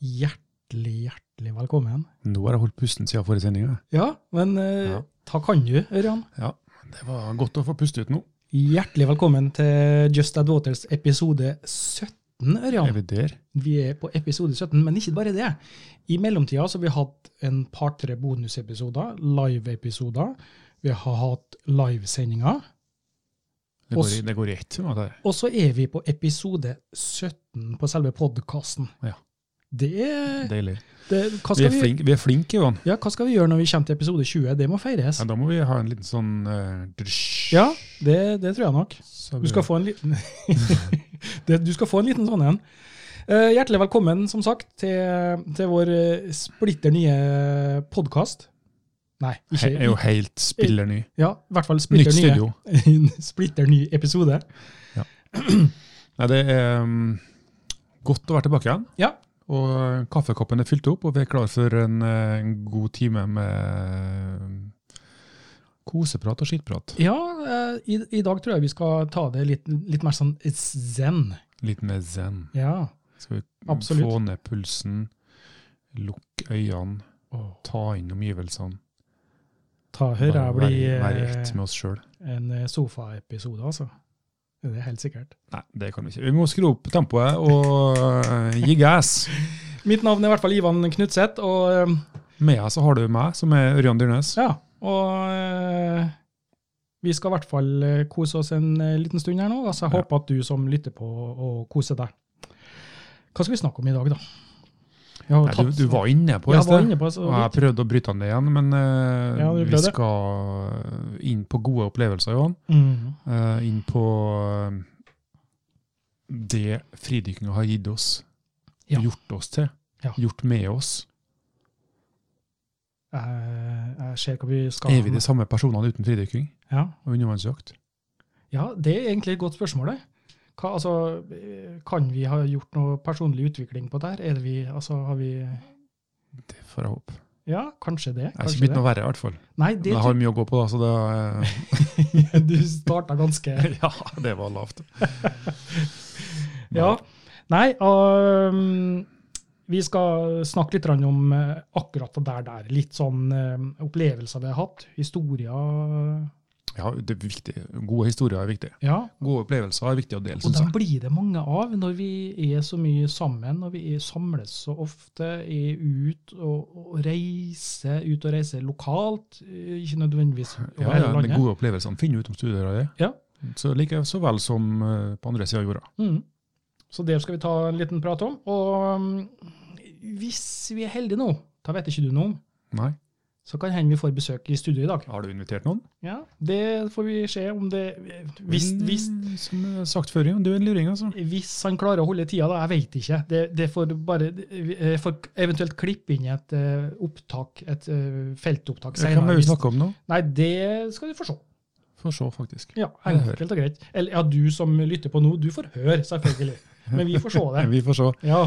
hjertelig, hjertelig velkommen. Nå har jeg holdt pusten siden forrige sending. jeg. Ja, men eh, Ja. takk kan du, Ørjan. Ja, det var godt å få puste ut nå. Hjertelig velkommen til Just Ad Waters episode 17, Er Ørjan. vi der? Vi er på episode 17, men ikke bare det. I mellomtida så har vi hatt en par-tre bonusepisoder, live-episoder. Vi har hatt livesendinger. Det går, Oss- i- det går i ett. nå, det her. Og så er vi på episode 17 på selve podkasten. Ja. Det er Deilig. det, hva, Vi skal er vi, flinke, vi er flink, Johan. ja, hva skal vi gjøre når vi kommer til episode 20? Det må feires. Ja, da må vi ha en liten sånn eh, drysj. Ja, det, det tror jeg nok. Så Du skal få en liten det, Du skal få en liten sånn en. Eh, hjertelig velkommen, som sagt, til, til vår eh, splitter nye podkast. Nei, He- ikke er jo helt spiller ny. Ja, i hvert fall Nytt splitter nye. studio. splitter ny episode. Nei, det er mm, godt å være tilbake igjen. Ja. Og eh, kaffekoppen er fylt opp, og vi er klar for en, eh, en god time med mm, koseprat og skittprat. Ja, eh, i, i dag tror jeg vi skal ta det litt, litt mer sånn zen. Litt mer zen. Ja. Skal vi Absolutt. få ned pulsen, lukk øynene, ta inn omgivelsene. Ta hører jeg Bare blir være- Være i ett eh, med oss sjøl. en eh, sofaepisode, altså. Det er helt sikkert. Nei, det kan vi ikke. Vi må skru opp tempoet og eh, gi gass. Mitt navn er i hvert fall Ivan Knutseth, og eh, Med deg så har du meg, som er Ørjan Dyrnes. Ja, og eh, vi skal i hvert fall eh, kose oss en eh, liten stund her nå. Altså, jeg Ja. håper at du som lytter på, og koser deg. Hva skal vi snakke om i dag, da? Jeg har Nei, du, tatt- du var inne på Ja, det jeg var inne på det. Og så jeg vidt. prøvde å bryte han ned igjen, men eh, Ja, du vi prøvde. skal eh, inn på gode opplevelser, Johan. Mm. Eh, inn på eh, det fridykkinga har gitt oss, Ja. gjort oss til, Ja. gjort med oss. Jeg, jeg ser hva vi skal Er vi de samme personene uten fridykking Ja. og undervannsjakt? ja, det er egentlig et godt spørsmål. det. Hva, altså, eh, kan vi ha gjort noe personlig utvikling på det her? Er det vi, altså, har vi Det får jeg håpe. Ja, kanskje det. Jeg har ikke Kanskje blitt det. noe verre, i hvert fall. Nei, Men det jeg har mye å gå på, da, så det, eh, tror- du starta ganske ja, det var lavt. Ja. Nei, ehm, vi skal snakke litt grann om eh, akkurat det der. der. Litt sånn eh, opplevelser vi har hatt, historier. Ja, det er viktig. Gode historier er viktig. Ja, Gode opplevelser er viktig å dele, og syns dem jeg. blir det mange av når vi er så mye sammen, når vi er, samles så ofte, er ut og, og reiser, ut og reiser lokalt, eh, ikke nødvendigvis over Ja, ja, hele de landet. gode opplevelsene finner du ut om studiereier. Ja. Så like så vel som eh, på andre sida av jorda. Mm. Så det skal vi ta en liten prat om. Og mm, hvis vi er heldige nå, da vet ikke du noe om, Nei. Så kan hende vi får besøk i studio i dag. Har du invitert noen? Ja, Det får vi se om det Hvis, Mm, hvis, Som jeg har sagt før, ja, du er en luring, altså. hvis han klarer å holde tida, da. Jeg veit ikke. Det, det får bare Jeg får eventuelt klippe inn i et eh, opptak, et eh, feltopptak Hvem senere. er vi hvis- snakker om nå? Nei, det skal du få se. Få se, faktisk. Ja, Jeg hører. Enkelt og greit. Eller ja, du som lytter på nå, du får høre, selvfølgelig. Men vi får se det. Vi får se. Ja.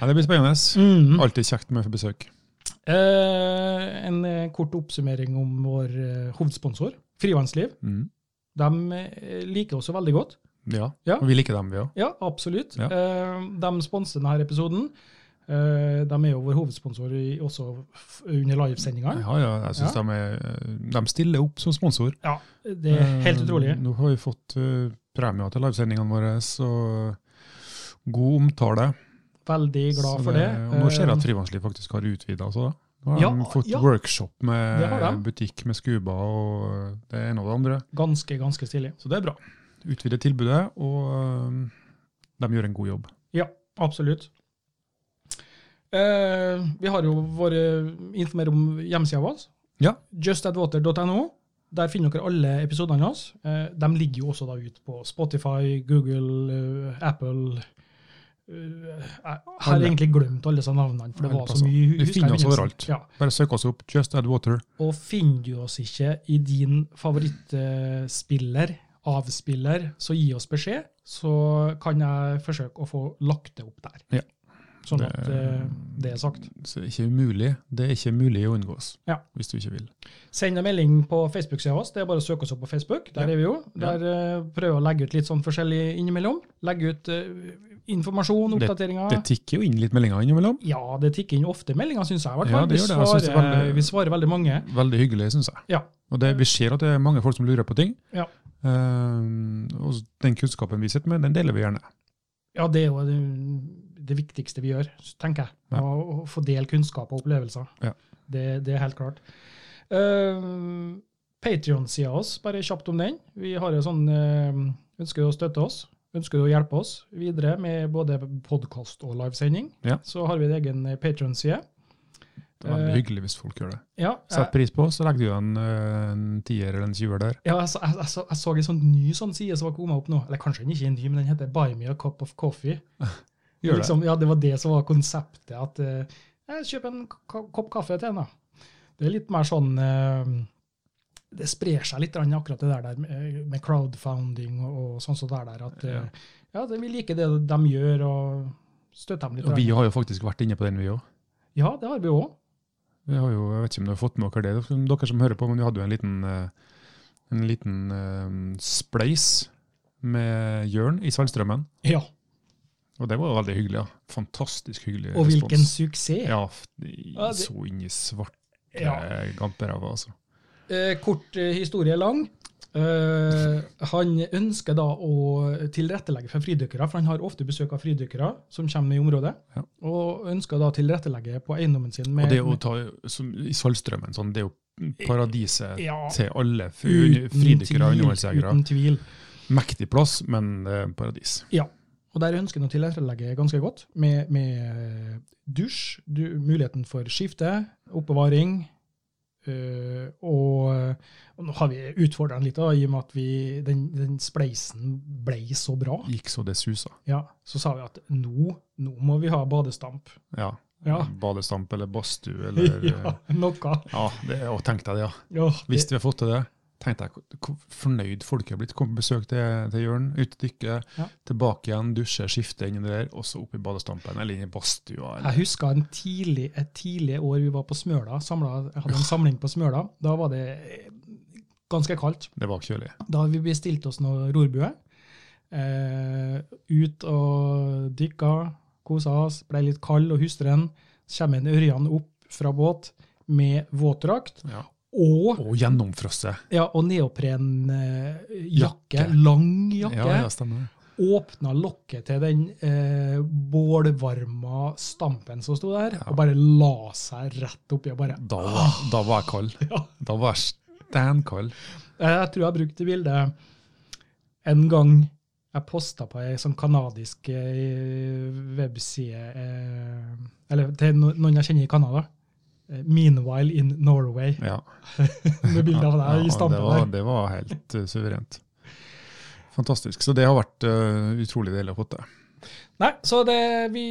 Ja, det blir spennende. Mm. Alltid kjekt med besøk. Eh, en eh, kort oppsummering om vår eh, hovedsponsor, Frivannsliv. Mm. De eh, liker oss jo veldig godt. Ja. Ja. Og vi liker dem, vi òg. Ja, absolutt. Ja. Eh, de sponser denne episoden. Eh, de er jo vår hovedsponsor i, også f under livesendingene. Ja, ja, jeg synes de, er, de stiller opp som sponsor. Ja, det er helt Eh, utrolig. Nå har vi fått eh, premier til livesendingene våre, så god omtale. Veldig glad Så for det. og nå ser jeg at Eh, Frivannsliv faktisk har utvida. Altså. da. Nå har Ja, de fått ja. workshop Det har med de. butikk med Scuba og eh, det ene og det andre. Eh, ganske, ganske stilig. Så det er bra. Utvide tilbudet, og eh, de gjør en god jobb. Ja, absolutt. Eh, vi har jo våre informere om hjemmesida vår, Ja. justadwater.no. Der finner dere alle episodene hans. Eh, de ligger jo også da ut på Spotify, Google, eh, Apple eh, Jeg har Alle. egentlig glemt alle disse navnene, for det Alle var så plasser. mye. Du husker jeg i finner oss begynnelsen. overalt. Ja. Bare søk oss opp. Just Add Water. Og finner du oss ikke i din favorittspiller, avspiller, så gi oss beskjed, så kan jeg forsøke å få lagt det opp der. Sånn at eh, det er sagt. Så det er ikke umulig. Det er ikke mulig å unngås Ja. hvis du ikke vil. Send en melding på Facebook-sida vår. Det er bare å søke oss opp på Facebook. Der Ja. er vi jo. Der Ja. eh, prøver vi å legge ut litt sånn forskjellig innimellom. Legge ut eh, informasjon, Det- oppdateringer. Det tikker jo inn litt meldinger innimellom. ja, det tikker inn ofte meldinger, syns jeg. i hvert Ja, fall. det vi, gjør det. Jeg svarer, synes det er veldig- vi svarer veldig mange. Veldig hyggelig, syns jeg. Ja. Og det, Vi ser at det er mange folk som lurer på ting. Ja. Ehm, og den kunnskapen vi sitter med, den deler vi gjerne. Ja, det er jo det, det viktigste vi gjør, tenker jeg. Ja. Å, å få dele kunnskap og opplevelser. Ja. Det, det er helt klart. Uh, Patrion-sida oss, bare kjapt om den. Vi har jo sånn eh, Ønsker du å støtte oss? Ønsker du å hjelpe oss videre med både podkast og livesending? Ja. Så har vi en egen Patrion-side. Det er veldig Eh, hyggelig hvis folk gjør det. Ja, Sett jeg, pris på, så legger du igjen eh, en tier eller en tjuer der. ja, jeg, så- jeg, jeg, så- jeg så en sånn ny sånn side som var kommet opp nå. Eller kanskje den ikke er ny, men den heter Buy me a cup of coffee. Gjør liksom, Ja, det var det som var konseptet. At eh, jeg kjøper en k- kopp kaffe til henne. Det er litt mer sånn eh, Det sprer seg litt grann akkurat det der, der med- med crowdfounding og, og sånn som det er der. At eh, ja, det, vi liker det de gjør, og støtter dem det. litt. Og vi grann. har jo faktisk vært inne på den, vi òg. Ja, det har vi òg. Vi har jo, jeg vet ikke om dere har fått med dere det, dere som hører på, men vi hadde jo en liten, eh, en liten eh, spleis med Jørn i Saltstrømmen. Ja, Og det var jo veldig hyggelig. ja. Fantastisk hyggelig og hvilken respons. suksess! Ja, f- de Ja, det- så inn i svarte Ja. gamperæva, altså. Eh, kort eh, historie lang. Eh, han ønsker da å tilrettelegge for fridykkere, for han har ofte besøk av fridykkere som kommer i området. Ja. Og ønsker da å tilrettelegge på eiendommen sin Og med det å ta som, i Saltstrømmen, sånn, det er jo paradiset Eh, ja, til alle fri- uten fridykkere og tvil, undervannsjegere. Uten tvil. Mektig plass, men eh, paradis. Og der ønsker han å tilrettelegge ganske godt, med, med eh, dusj, du, muligheten for skifte, oppbevaring. øh, og, og nå har vi utfordra han litt, da, i og med at vi, den, den spleisen ble så bra. Gikk så det susa. Ja, Så sa vi at nå, nå må vi ha badestamp. Ja. Ja. Badestamp eller badstue eller eh, ja, noe. Ja, det, og tenk deg det, ja. Ja, Hvis det, vi har fått til det, tenk deg hvor- hvor fornøyd folk har blitt. Kom på besøk til, til Jørn, ut og dykke, Ja. tilbake igjen, dusje, skifte inn i det der, og så opp i badestampen eller inn i badstua. jeg eller- husker en tidlig, et tidlig år vi var på Smøla. Samla, jeg hadde en samling på Smøla. Da var det eh, ganske kaldt. Det var kjølig. Da har vi bestilt oss noe rorbue. Eh, ut og dykka, kosa oss, ble litt kald og hustren. Så kommer en Ørjan opp fra båt med våtdrakt Ja. og, Og gjennomfrosset. ja, og neoprenjakke, eh, jakke, Jakke. lang jakke. Ja, ja, stemmer det. Åpna lokket til den eh, bålvarma stampen som sto der, Ja. og bare la seg rett oppi. og bare, Da var, da var jeg kald. ja. Da var jeg steinkald. Jeg tror jeg brukte bildet en gang jeg posta på ei sånn kanadisk eh, webside eh, Eller til no- noen jeg kjenner i Canada. Eh, 'Meanwhile in Norway', Ja. med bilder av Ja, deg i det stampen var, der. det var helt eh, suverent. Fantastisk. Så det har vært eh, utrolig deilig å få til. Nei, så det, vi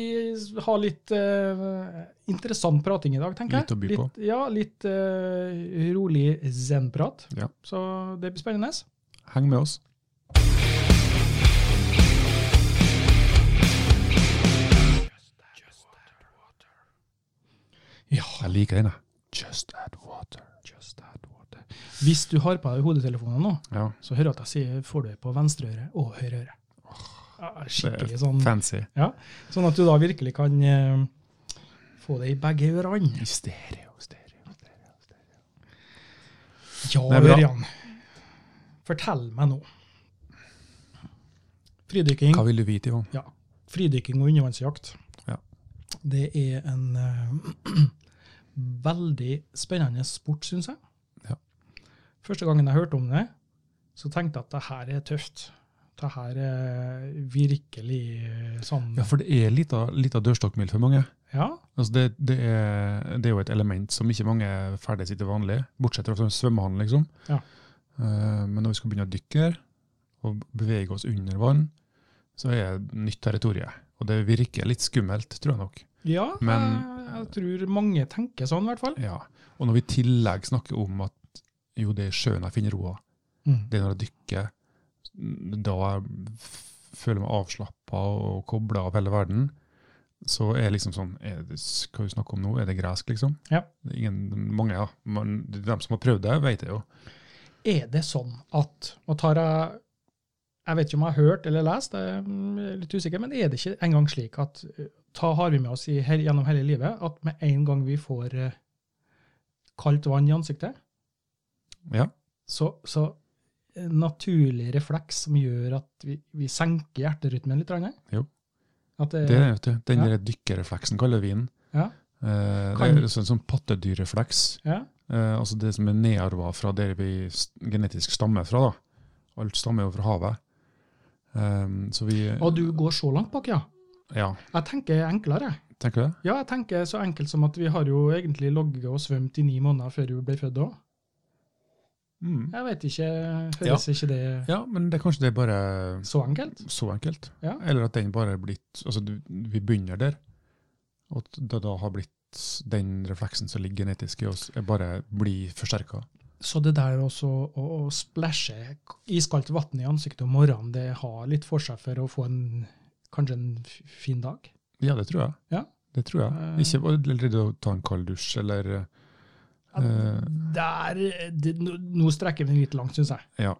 har litt eh, interessant prating i dag, tenker jeg. Litt å by på. Litt, ja, litt eh, rolig zen-prat. Ja. Så det blir spennende. Heng med oss. Ja. Jeg liker den, jeg. Just add water. Hvis du har på deg hodetelefonene nå, Ja, så hører jeg at jeg sier får du det på venstre øre og høyre øre. Ja, Skikkelig sånn, fancy. sånn at du da virkelig kan eh, få det i begge ørene. Stereo, stereo, stereo. Ja, Det er bra. Ørjan. Fortell meg nå. Fridykking, Hva vil du vite, Ivan? fridykking og undervannsjakt. Ja. Det er en eh, veldig spennende sport, syns jeg. Ja. Første gangen jeg hørte om det, så tenkte jeg at det her er tøft. Det her er virkelig eh, sånn Ja, for det er litt av, litt av dørstokkmil for mange. Ja, Altså det, det, er, det er jo et element som ikke mange ferdes i til vanlig, bortsett fra sånn svømmehallen, liksom. Ja. Eh, men når vi skal begynne å dykke her, og bevege oss under vann, så er det nytt territorium. Og det virker litt skummelt, tror jeg nok. ja Men- jeg, jeg tror mange tenker sånn, i hvert fall. Ja. Og når vi i tillegg snakker om at jo, det er sjøen jeg finner roa, det er når jeg dykker, da jeg f- føler jeg meg avslappa og kobla av hele verden, så er det liksom sånn er det, Hva vi snakker om nå, er det gresk, liksom? Ja. Det er Ingen, mange, ja. Men de som har prøvd det, vet det jo. Er det sånn at Nå tar jeg Jeg vet ikke om jeg har hørt eller lest, jeg er mm, litt usikker, men er det ikke engang slik at eh, ta, har vi med oss i, hel- gjennom hele livet at med en gang vi får eh, kaldt vann i ansiktet, Ja. så, så en naturlig refleks som gjør at vi, vi senker hjerterytmen litt? Ranne? Jo. At det, Det er det, vet du. Den Eh, Ja. der dykkerrefleksen kaller vi den. Ja. Eh, det Kan- er en sånn, sånn pattedyrrefleks. ja, Eh, altså det som er nedarva fra der vi s- genetisk stammer fra. da. Alt stammer jo fra havet. Eh, så vi Og du går så langt bak, ja. Ja, Jeg tenker enklere. jeg. tenker du det? Ja, jeg tenker så enkelt som at vi har jo egentlig logget og svømt i ni måneder før vi ble født òg. Mm. Jeg vet ikke, høres ikke det Ja, men det, kanskje det er bare så enkelt? så enkelt. Ja. Eller at den bare er blitt Altså, du, vi begynner der. Og at det da har blitt den refleksen som ligger genetisk i oss, er bare blir forsterka. Så det der også å, å splæsje iskaldt vann i ansiktet om morgenen, det har litt for seg for å få en kanskje en f- fin dag? Ja, det tror jeg. Ja. Det tror jeg. Eh. Ikke eller det å ta en kald dusj, eller Ja, Eh. Der, det, nå- nå strekker vi den litt langt, syns jeg. Ja,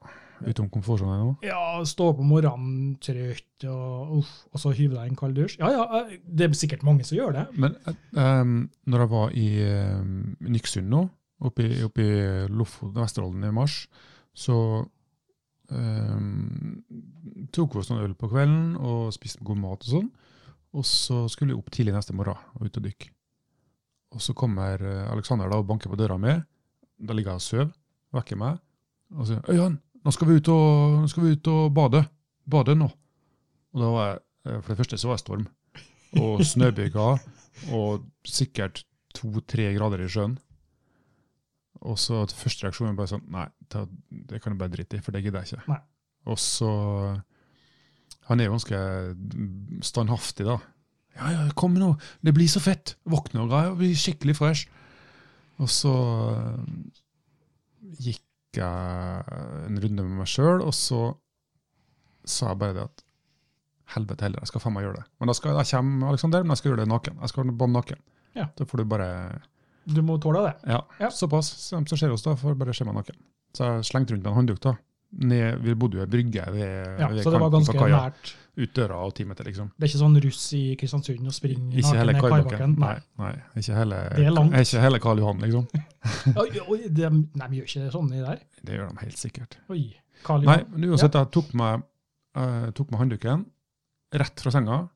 utom komfortsonen nå. Ja, Stå opp om morgenen trøtt, og, uff, og så hyve deg i en kald dusj. Ja, ja, eh, det er sikkert mange som gjør det. Men eh, em, når jeg var i em, Nyksund nå, oppe i, oppe i Lofoten og Vesterålen i mars, så em, tok vi oss noen øl på kvelden og spiste god mat og sånn. Og så skulle vi opp tidlig neste morgen og ut og dykke. Og så kommer eh, Alexander da og banker på døra mi. Da ligger jeg og sover, vekker meg og sier 'Øyan, nå skal vi ut og, nå skal vi ut og bade. Bade nå.' Og da var jeg, eh, For det første så var det storm og snøbyger og sikkert to-tre grader i sjøen. Og så at første reaksjon er bare sånn Nei, ta, det kan du bare drite i, for det gidder jeg ikke. Nei. Og så Han er jo ganske standhaftig, da. Ja, ja, kom nå! Det blir så fett! Våkne og greier, blir skikkelig fresh. Og så eh, gikk jeg en runde med meg sjøl, og så sa jeg bare det at helvete heller, jeg skal faen meg gjøre det. Men da skal jeg komme, Alexander, men jeg skal gjøre det naken. Jeg skal bade naken. Ja. Da får du bare Du må tåle det. Ja, Ja. såpass. Så de som ser oss, da, får bare se meg naken. Så jeg slengte rundt meg en håndduk, da. Ned, vi bodde jo i ei brygge ved, Ja, ved så det var ganske på kaia. nært. Ut døra og ti meter, liksom. Det er ikke sånn russ i Kristiansund og spring Ikke hele Kaibakken. Nei, Nei. nei, ikke hele, Det er langt. ikke hele Karl Johan, liksom. Oi, oi, de, nei, vi gjør ikke sånn i der. Det gjør de helt sikkert. Oi. Karl Nei, Johan. men uansett, jeg tok meg, eh, tok meg håndduken rett fra senga.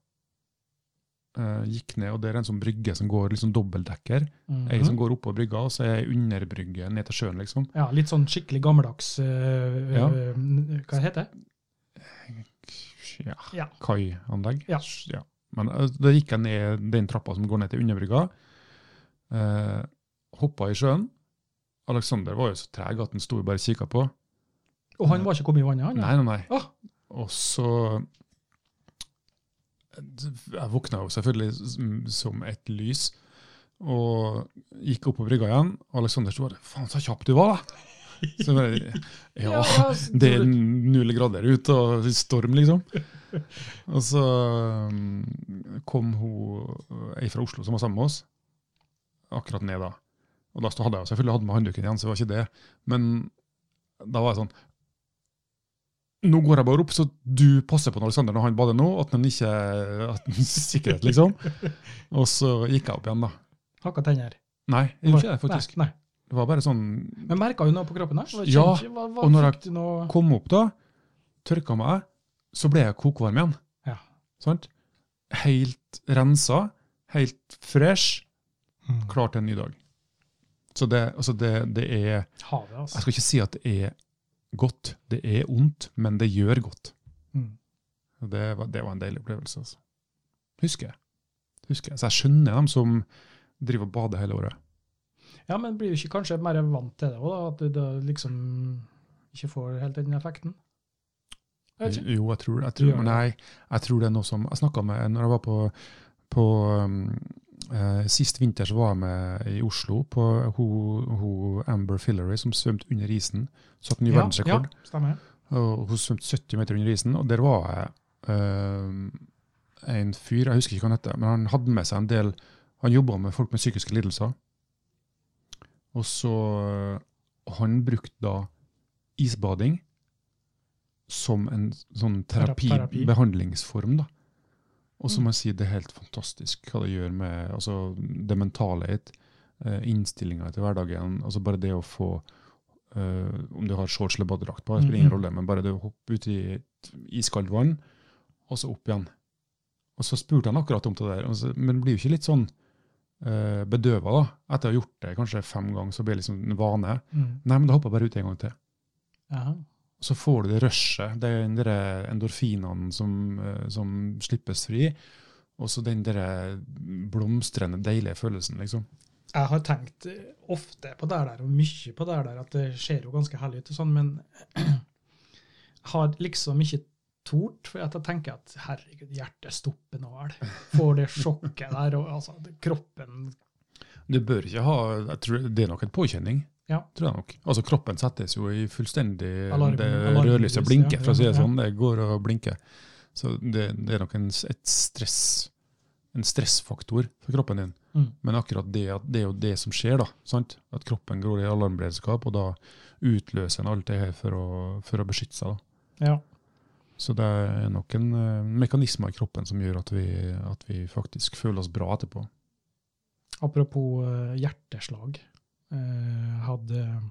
eh, gikk ned, og det er en sånn brygge som går liksom dobbeltdekker. Mhm. Ei som går oppå brygga, og så er ei under brygga ned til sjøen, liksom. Ja, litt sånn skikkelig gammeldags øh, Ja. øh, Hva heter det? Ja, Ja. Kaianlegg. Ja. Ja. Men eh, da gikk jeg ned den trappa som går ned til underbrygga. Eh, hoppa i sjøen. Alexander var jo så treg at han sto og bare kikka på. Og han var ikke kommet i vannet, han? ja. Nei, nei, nei. Åh, Og så Jeg våkna jo selvfølgelig som- som et lys, og gikk opp på brygga igjen. Og Alexander sto bare 'Faen, så kjapp du var', da! Så jeg bare, ja, s- Det er null grader ute og storm, liksom. Og så um, kom hun eh, ei fra Oslo som var sammen med oss, akkurat ned da. Og da hadde jeg jo selvfølgelig hatt med håndduken igjen, så det var ikke det. Men da var jeg sånn Nå går jeg bare opp, så du passer på når Alexander når han bader nå, at han ikke at han Sikkerhet, liksom. Og så gikk jeg opp igjen, da. Hakka tenner. Nei, jeg gjorde ikke det, faktisk. Nei, nei. Det var bare sånn Men merka jo noe på kroppen her? Ja, og og når fikk du noe kom opp da, tørka meg, så ble jeg kokvarm igjen. Ja. Sant? Helt rensa, helt fresh, klar til en ny dag. Så det, altså det, det er Jeg Havet, altså. skal ikke si at det er godt. Det er ondt, men det gjør godt. Mm. Og Det var, det var en deilig opplevelse. altså. Husker jeg. Husker jeg. Så jeg skjønner dem som driver og bader hele året. Ja, men blir jo ikke kanskje mer vant til det òg, da? At du da liksom ikke får helt den effekten? Jeg vet ikke. Eh, Jo, jeg tror, jeg Du tror, gjør men nei, jeg tror det er noe som Jeg snakka med når jeg var på, på um, eh, Sist vinter så var jeg med i Oslo på hun, hun Amber Fillory som svømte under isen. Satt ny Ja, verdensrekord. ja, stemmer. Og hun svømte 70 meter under isen, og der var jeg um, en fyr, jeg husker ikke hva han heter, men han hadde med seg en del Han jobba med folk med psykiske lidelser. Og så øh, Han brukte da isbading som en sånn terapi, Terapi. behandlingsform, da. Og så Mm. må jeg si det er helt fantastisk hva det gjør med altså, det mentale hit, eh, innstillinga til hverdagen. altså Bare det å få eh, Om du har shorts eller badedrakt på, det spiller Mhm. ingen rolle, men bare det å hoppe ut i et iskaldt vann, og så opp igjen. Og så spurte han akkurat om det der, og så, men blir jo ikke litt sånn eh, bedøva, da? Etter å ha gjort det kanskje fem ganger, så blir det liksom en vane. Mm. Nei, men da hopper jeg bare ut en gang til. Jaha. Og så får du det rushet, det er den der endorfinene som, eh, som slippes fri, og så den der blomstrende, deilige følelsen, liksom. Jeg har tenkt eh, ofte på det der, og mye på det der, at det ser jo ganske herlig ut og sånn, men jeg har liksom ikke tort, for at jeg tenker at herregud, hjertet stopper nå vel. Får det sjokket der, og altså, det- kroppen Du bør ikke ha, jeg tror det er nok en påkjenning, Ja. tror jeg nok. Altså kroppen settes jo i fullstendig, Alarm- det alarmlys, rødlyset blinker, ja, for å si ja, det ja. sånn, det går og blinker. Så det, det er nok en, s- et stress, en stressfaktor for kroppen din. Mm. Men akkurat det, at det er jo det som skjer, da. Sant? At kroppen går i alarmberedskap, og da utløser en alt det her for å, for å beskytte seg. da. Ja. Så det er nok en eh, mekanisme i kroppen som gjør at vi, at vi faktisk føler oss bra etterpå. Apropos eh, hjerteslag. Eh, hadde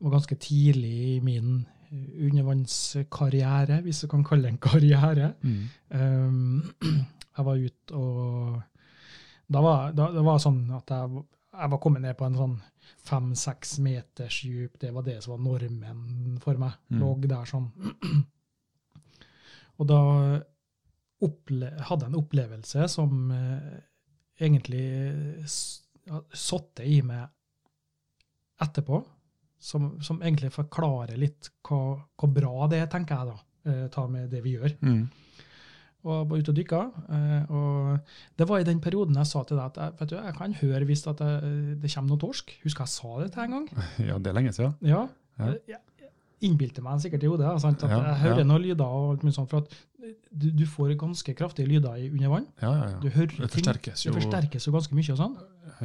var ganske tidlig i min eh, undervannskarriere, hvis du kan kalle det en karriere. Um, jeg var ute og da var, da, Det var sånn at jeg, jeg var kommet ned på en sånn fem-seks meters djup. Det var det som var normen for meg. Mm. Lå der sånn. Og da opple hadde jeg en opplevelse som eh, egentlig eh, s- ja, satte i meg etterpå, som, som egentlig forklarer litt hva, hva bra det er, tenker jeg da, eh, ta med det vi gjør Mm. og var ute og dykka. eh, Og det var i den perioden jeg sa til deg at jeg, vet du, jeg kan høre hvis at jeg, eh, det kommer noe torsk. Husker jeg sa det til deg en gang? Ja, det er lenge siden. Ja. Ja. Eh, Jeg innbilte meg sikkert i hodet. Sant? At Ja, jeg hører ja. noen lyder og alt mulig sånt. For at du, du får ganske kraftige lyder i- under vann. Ja, ja, Du ja. hører Det ting. forsterkes Det jo. forsterkes jo ganske mye og sånn.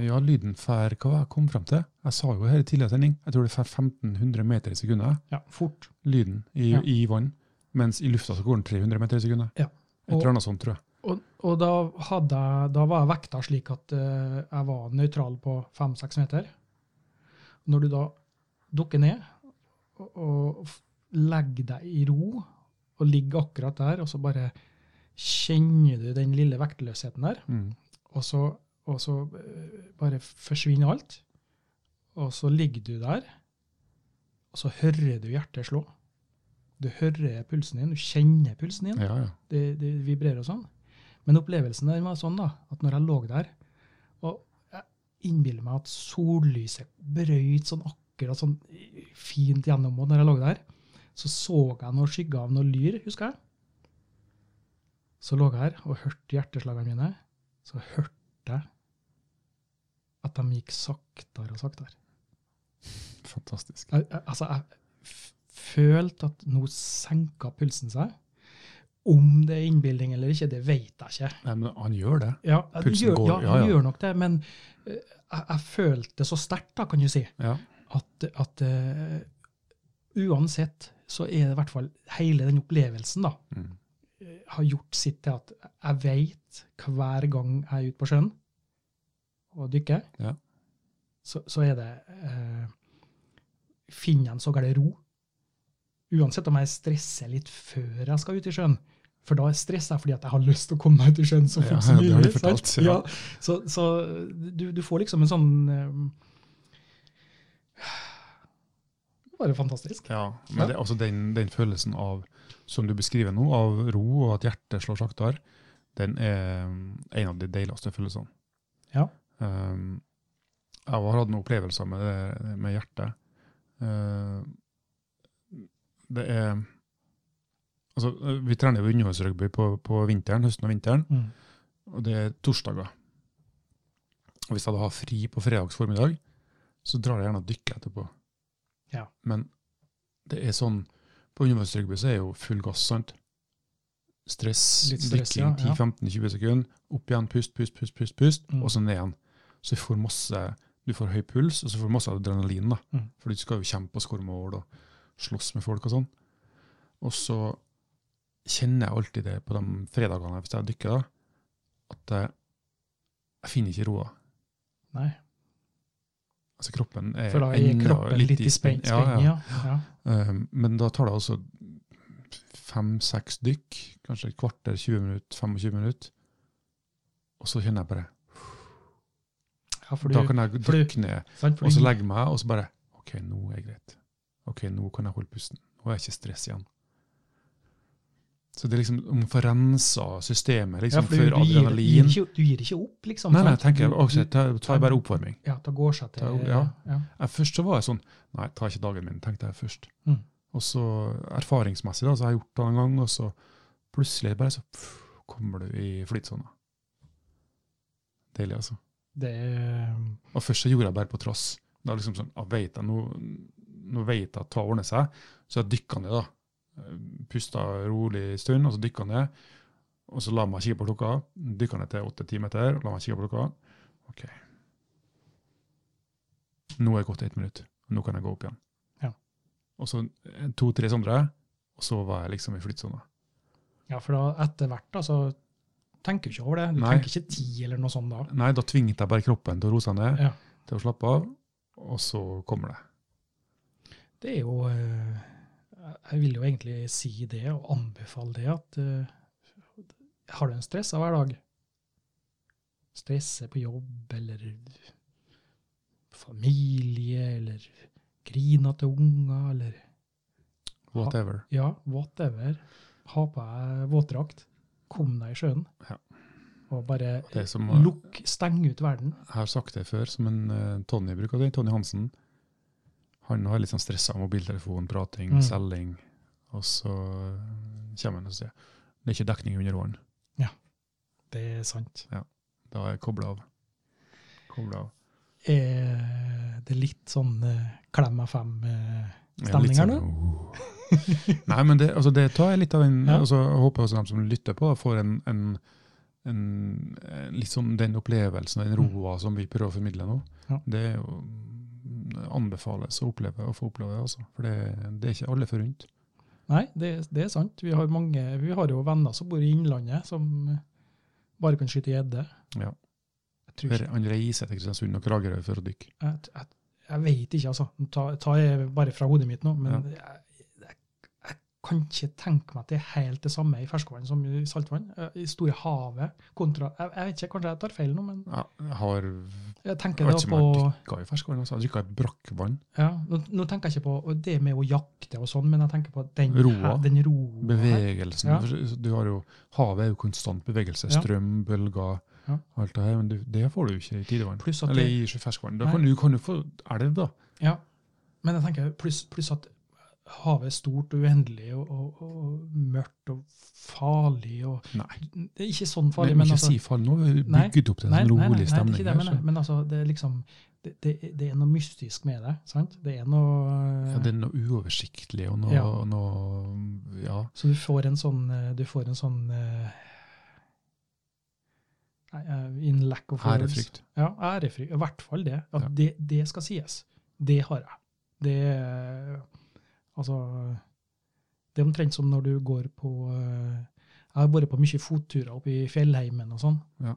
Ja, lyden fær hva var det jeg kom frem til? Jeg sa jo her i tidligere sending, jeg tror det fær 1500 meter i sekundet, Ja, fort. lyden i, Ja. i vann, mens i lufta så går den 300 meter i sekundet. Ja. Et Og- eller annet sånt, tror jeg. Og, og da, hadde jeg, da var jeg vekta slik at eh, jeg var nøytral på fem-seks meter. Når du da dukker ned og, og f- legger deg i ro og ligger akkurat der, og så bare kjenner du den lille vektløsheten der, Mm. og så, og så eh, bare forsvinner alt. Og så ligger du der, og så hører du hjertet slå. Du hører pulsen din, du kjenner pulsen din Ja, ja. det, det vibrerer og sånn. Men opplevelsen der var sånn da, at når jeg lå der, og jeg innbiller meg at sollyset brøyt sånn akkurat sånn fint gjennom og når jeg lå der, så så jeg noe skygge av noe lyr, husker jeg. Så lå jeg her og hørte hjerteslagene mine, så hørte jeg at de gikk saktere og saktere. Fantastisk. Jeg, jeg- altså, jeg f- følte at nå senka pulsen seg. Om det er innbilning eller ikke, det vet jeg ikke. Nei, men han gjør det. Ja, du Pulsen gjør, går, ja, ja, han ja. gjør nok det, men eh, jeg, jeg følte det så sterkt, da, kan du si, Ja. at, at eh, uansett så er det i hvert fall hele den opplevelsen, da, Mm. eh, har gjort sitt til at jeg veit hver gang jeg er ute på sjøen og dykker, Ja. så, så er det eh, Finner jeg en såkalt ro. Uansett om jeg stresser litt før jeg skal ut i sjøen. For da stresser jeg fordi at jeg har lyst til å komme meg ut i sjøen så Ja, fort som det mulig. har du sant? fortalt, ja. ja. så så du, du får liksom en sånn eh, Bare fantastisk. ja. Men det er også den, den følelsen av, som du beskriver nå, av ro og at hjertet slår saktere, den er mm, en av de deiligste følelsene. Ja. Um, jeg har hatt noen opplevelser med, det, med hjertet. Uh, det er Altså, vi trener jo underholdsrugby på, på vinteren, høsten og vinteren, Mm. og det er torsdager. Og hvis jeg da har fri på fredags formiddag, så drar jeg gjerne og dykker etterpå. Ja. Men det er sånn På undervannsrugby så er jo full gass, sant? Stress, Litt stress, drikking ja, ja. 10-15-20 sekunder, opp igjen, pust, pust, pust, pust, pust Mm. og så ned igjen. Så du får masse, du får høy puls, og så får du masse adrenalin, da. Mm. For du skal jo kjempe og skåre mål og slåss med folk og sånn. Og så kjenner jeg alltid det på de fredagene hvis jeg dykker, da, at jeg, jeg finner ikke roa. Nei. Altså kroppen er For da er ennå kroppen litt i spenn. Ja, ja. spenn, Ja, ja. Um, men da tar det altså fem-seks dykk, kanskje et kvarter, 20 minutter, 25 minutter. Og så kjenner jeg bare ja, for Da du, kan jeg for du- dykke ned, sant, for og så du- legge meg, og så bare OK, nå er det greit. OK, nå kan jeg holde pusten. Nå er jeg ikke stress igjen. Så det er liksom om å få rensa systemet ja, liksom, for du, du, gir, for du, gir adrenalin. ikke, Mm. du gir ikke opp, liksom. Nei, nei, sant? tenker jeg, Du- ok, du- ta, ta bare oppvarming. Ja, da går seg til Ta- ja. ja. Jeg, først så var jeg sånn Nei, ta ikke dagen min, tenkte jeg først. Mm. Og så erfaringsmessig, da, så har jeg gjort det en gang, og så plutselig bare så pff, kommer du i flytsona. Deilig, altså. Det er Og først så gjorde jeg bare på trass. Da liksom sånn, jeg vet jeg, nå, nå vet jeg at det ordner seg, så jeg dykka ned, da. Pusta rolig en stund, og så dykka ned. Og så la meg kikke på klokka. Dykka ned til åtte-ti meter, la meg kikke på klokka. OK. Nå er det gått ett minutt. Nå kan jeg gå opp igjen. Ja. Og så eh, to-tre sånne, og så var jeg liksom i flyttsona. Ja, for da etter hvert da, så tenker du ikke over det. Du Nei. tenker ikke ti eller noe sånt da. Nei, da tvingte jeg bare kroppen til å roe seg ned, Ja. til å slappe av, og så kommer det. Det er jo eh, Jeg vil jo egentlig si det og anbefale det at eh, har du en stressa hverdag, stresse på jobb eller familie eller griner til unger eller Whatever. Ja, whatever. Ha på deg våtdrakt. Kom deg i sjøen. Ja. Og bare Det er som, lukk, steng ut verden. Jeg har sagt det før, som en eh, Tonje bruker det, Tonje Hansen. Han har litt sånn stressa av mobiltelefon, prating, Mm. selging. Og så eh, kommer han og sier det er ikke dekning under åren. Det er sant. Da er jeg kobla av. Kobla av. Er det litt sånn eh, klem av fem eh, Jeg er litt Stemninger sånn, «Åh». Nei, men det, altså, det tar jeg litt av en Ja. altså, Jeg håper også de som lytter på, da, får en, en, en, en litt sånn den opplevelsen, den roa som vi prøver å formidle nå. Mm. Ja. Det er jo det anbefales å oppleve å få oppleve det, altså. For det, det er ikke alle forunt. Nei, det, det er sant. Vi har, mange, vi har jo venner som bor i Innlandet, som eh, bare kan skyte gjedde. Ja. Jeg, tror ikke- Han reiser til Kristiansund og Kragerø for å dykke. jeg, jeg, jeg vet ikke, altså. Ta, ta jeg bare fra hodet mitt nå, men jeg, jeg, jeg kan ikke tenke meg at det er helt det samme i ferskvann som i saltvann. Eh, I store havet kontra Jeg, jeg vet ikke, kanskje jeg tar feil nå, men Ja, Jeg har jeg jeg tenker vet da ikke om på jeg har dykka i ferskvann. Altså. Jeg dykka i brakkvann. Ja, nå, nå tenker jeg ikke på det med å jakte og sånn, men jeg tenker på den Roa. den roa her. Bevegelsen. Ja. for Du har jo, havet er jo konstant bevegelse. Ja. Strøm, bølger, Ja. alt det her. Men du, det får du jo ikke i tidevann. Pluss at Eller det- i ferskvann. Da Nei. kan du, kan du få elv, da. Ja, men jeg tenker pluss, pluss at havet er stort og uendelig og, og, og mørkt og farlig og Nei. Det er ikke sånn Nei, farlig, men men ikke altså si fall nå. Vi Nei. bygget opp til en sånn rolig nei, det er stemning. ikke det, jeg her, mener. så- men altså, det er liksom det, det, det er noe mystisk med det, sant? Det er noe ja, det er noe uoversiktlig og noe, Ja. noe Ja. Så du får en sånn eh, Du får en sånn eh, nei, eh, In lack of words. Ærefrykt. Ja, ærefrykt. I hvert fall det. At Ja. det, det skal sies. Det har jeg. Det er, Altså Det er omtrent som når du går på eh, Jeg har vært på mye fotturer oppe i fjellheimen og sånn. Ja.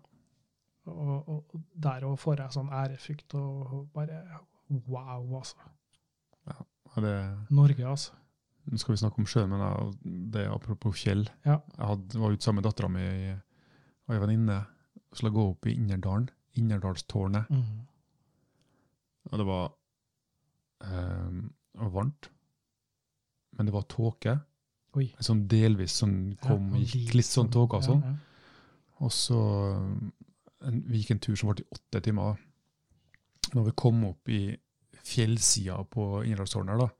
Og, og, og der òg får jeg sånn ærefrykt og og bare Wow, altså. Ja, det Norge, altså. Nå skal vi snakke om sjøen, men jeg, det er apropos fjell. Ja. Jeg hadde, var ute sammen med dattera mi og ei venninne og skulle gå opp i Innerdalen, Innerdalstårnet. Mm. Og det var eh, det var varmt, men det var tåke. Oi. En Sånn delvis sånn kom Ja, og gikk, litt sånn tåke og ja, sånn. ja. Og så eh, en, vi gikk en tur som varte i åtte timer. Når vi kom opp i fjellsida på Innerdalstårnet, her da,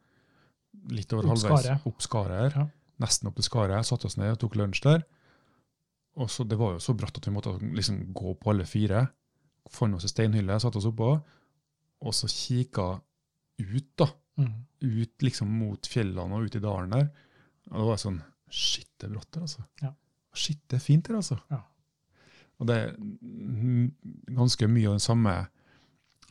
litt over Opp halvveis Skaret. opp Skaret her, Ja. nesten opp til Skaret, satte oss ned og tok lunsj der. Og så Det var jo så bratt at vi måtte liksom gå på alle fire. Fant oss ei steinhylle, satte oss oppå, og så kikka ut, da. Mm. Ut liksom mot fjellene og ut i dalen der. Og det var sånn Shit, det er bratt der, altså. Ja. Shit, det er fint her, altså. Ja. Og det er mm, ganske mye av den samme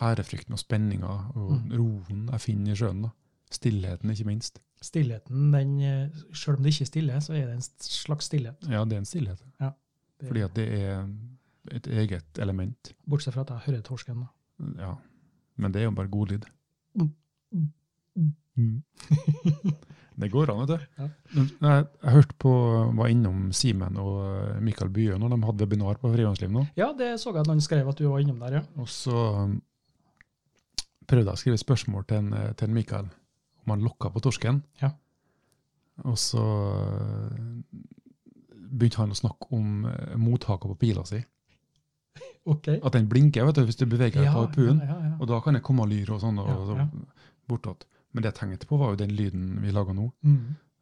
ærefrykten og spenninga og Mm. roen jeg finner i sjøen. da. Stillheten, ikke minst. Stillheten, den, eh, selv om det ikke er stille, så er det en slags stillhet. Ja, det er en stillhet. Ja. Fordi at det er et eget element. Bortsett fra at jeg hører torsken. da. Ja. Men det er jo bare god lyd. Mm. Mm. det går an, vet du. Ja. Men Jeg, jeg hørte på, var innom Simen og Mikael Bye når de hadde webinar på Frivannsliv nå. Ja, det så jeg at noen skrev at du var innom der, ja. Og så um, prøvde jeg å skrive spørsmål til, en, eh, til en Mikael om han lokka på torsken. Ja. Og så eh, begynte han å snakke om eh, mottaket på pila si. Ok. At den blinker vet du, hvis du beveger deg ja, på puen. Ja, ja, ja. Og da kan det komme lyr og sånn. Og, Ja, ja. så bortåt. Men det jeg tenkte på, var jo den lyden vi laga nå. Mm.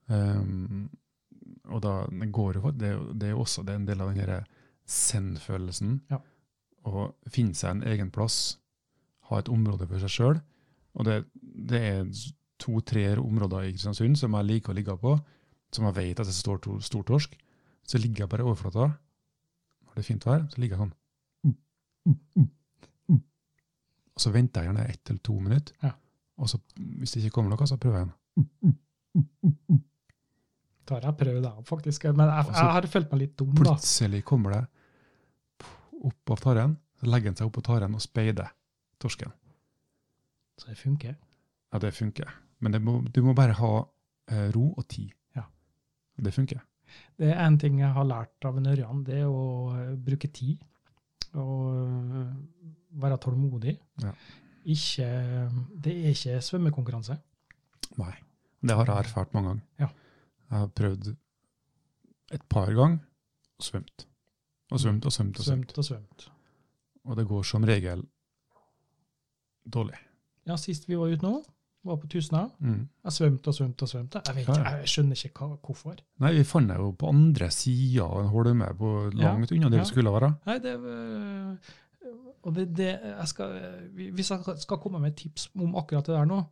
Um, og da det går jo, det, er jo- det er jo også det er en del av den her send-følelsen. Ja. Å finne seg en egen plass, ha et område for seg sjøl. Og det, det er to-tre områder i Kristiansund som jeg liker å ligge på, som jeg vet at det står to, stor torsk. Så ligger jeg bare i overflata. Når det er fint vær, så ligger jeg sånn. Og så venter jeg gjerne ett eller to minutter. Ja. Og så, hvis det ikke kommer noe, så prøver jeg igjen. Da har jeg prøvd det, faktisk. Men jeg, Og så- jeg har følt meg litt dum, da. Plutselig kommer det opp av taren, så legger den seg opp på taren og speider torsken. Så det funker. Ja, det funker. Men det må, du må bare ha eh, ro og tid. Ja. Det funker. Det er en ting jeg har lært av en Ørjan, det er å eh, bruke tid. Og eh, være tålmodig. Ja. Ikke, eh, det er ikke svømmekonkurranse. Nei. Det har jeg erfart mange ganger. Ja. Jeg har prøvd et par ganger og svømt. Og svømt og svømt og svømt. Svømt og svømt. Og det går som regel dårlig. Ja, sist vi var ute nå, var på Tusna. Mm. Jeg svømte og svømte og svømte. Jeg, vet, Ja, ikke- ja. jeg skjønner ikke hva, hvorfor. Nei, vi fant det jo på andre sida av en holme, på- Ja. langt unna det Ja. vi skulle være. Nei, det øh, Og det, det jeg skal, øh, Hvis jeg skal komme med et tips om akkurat det der nå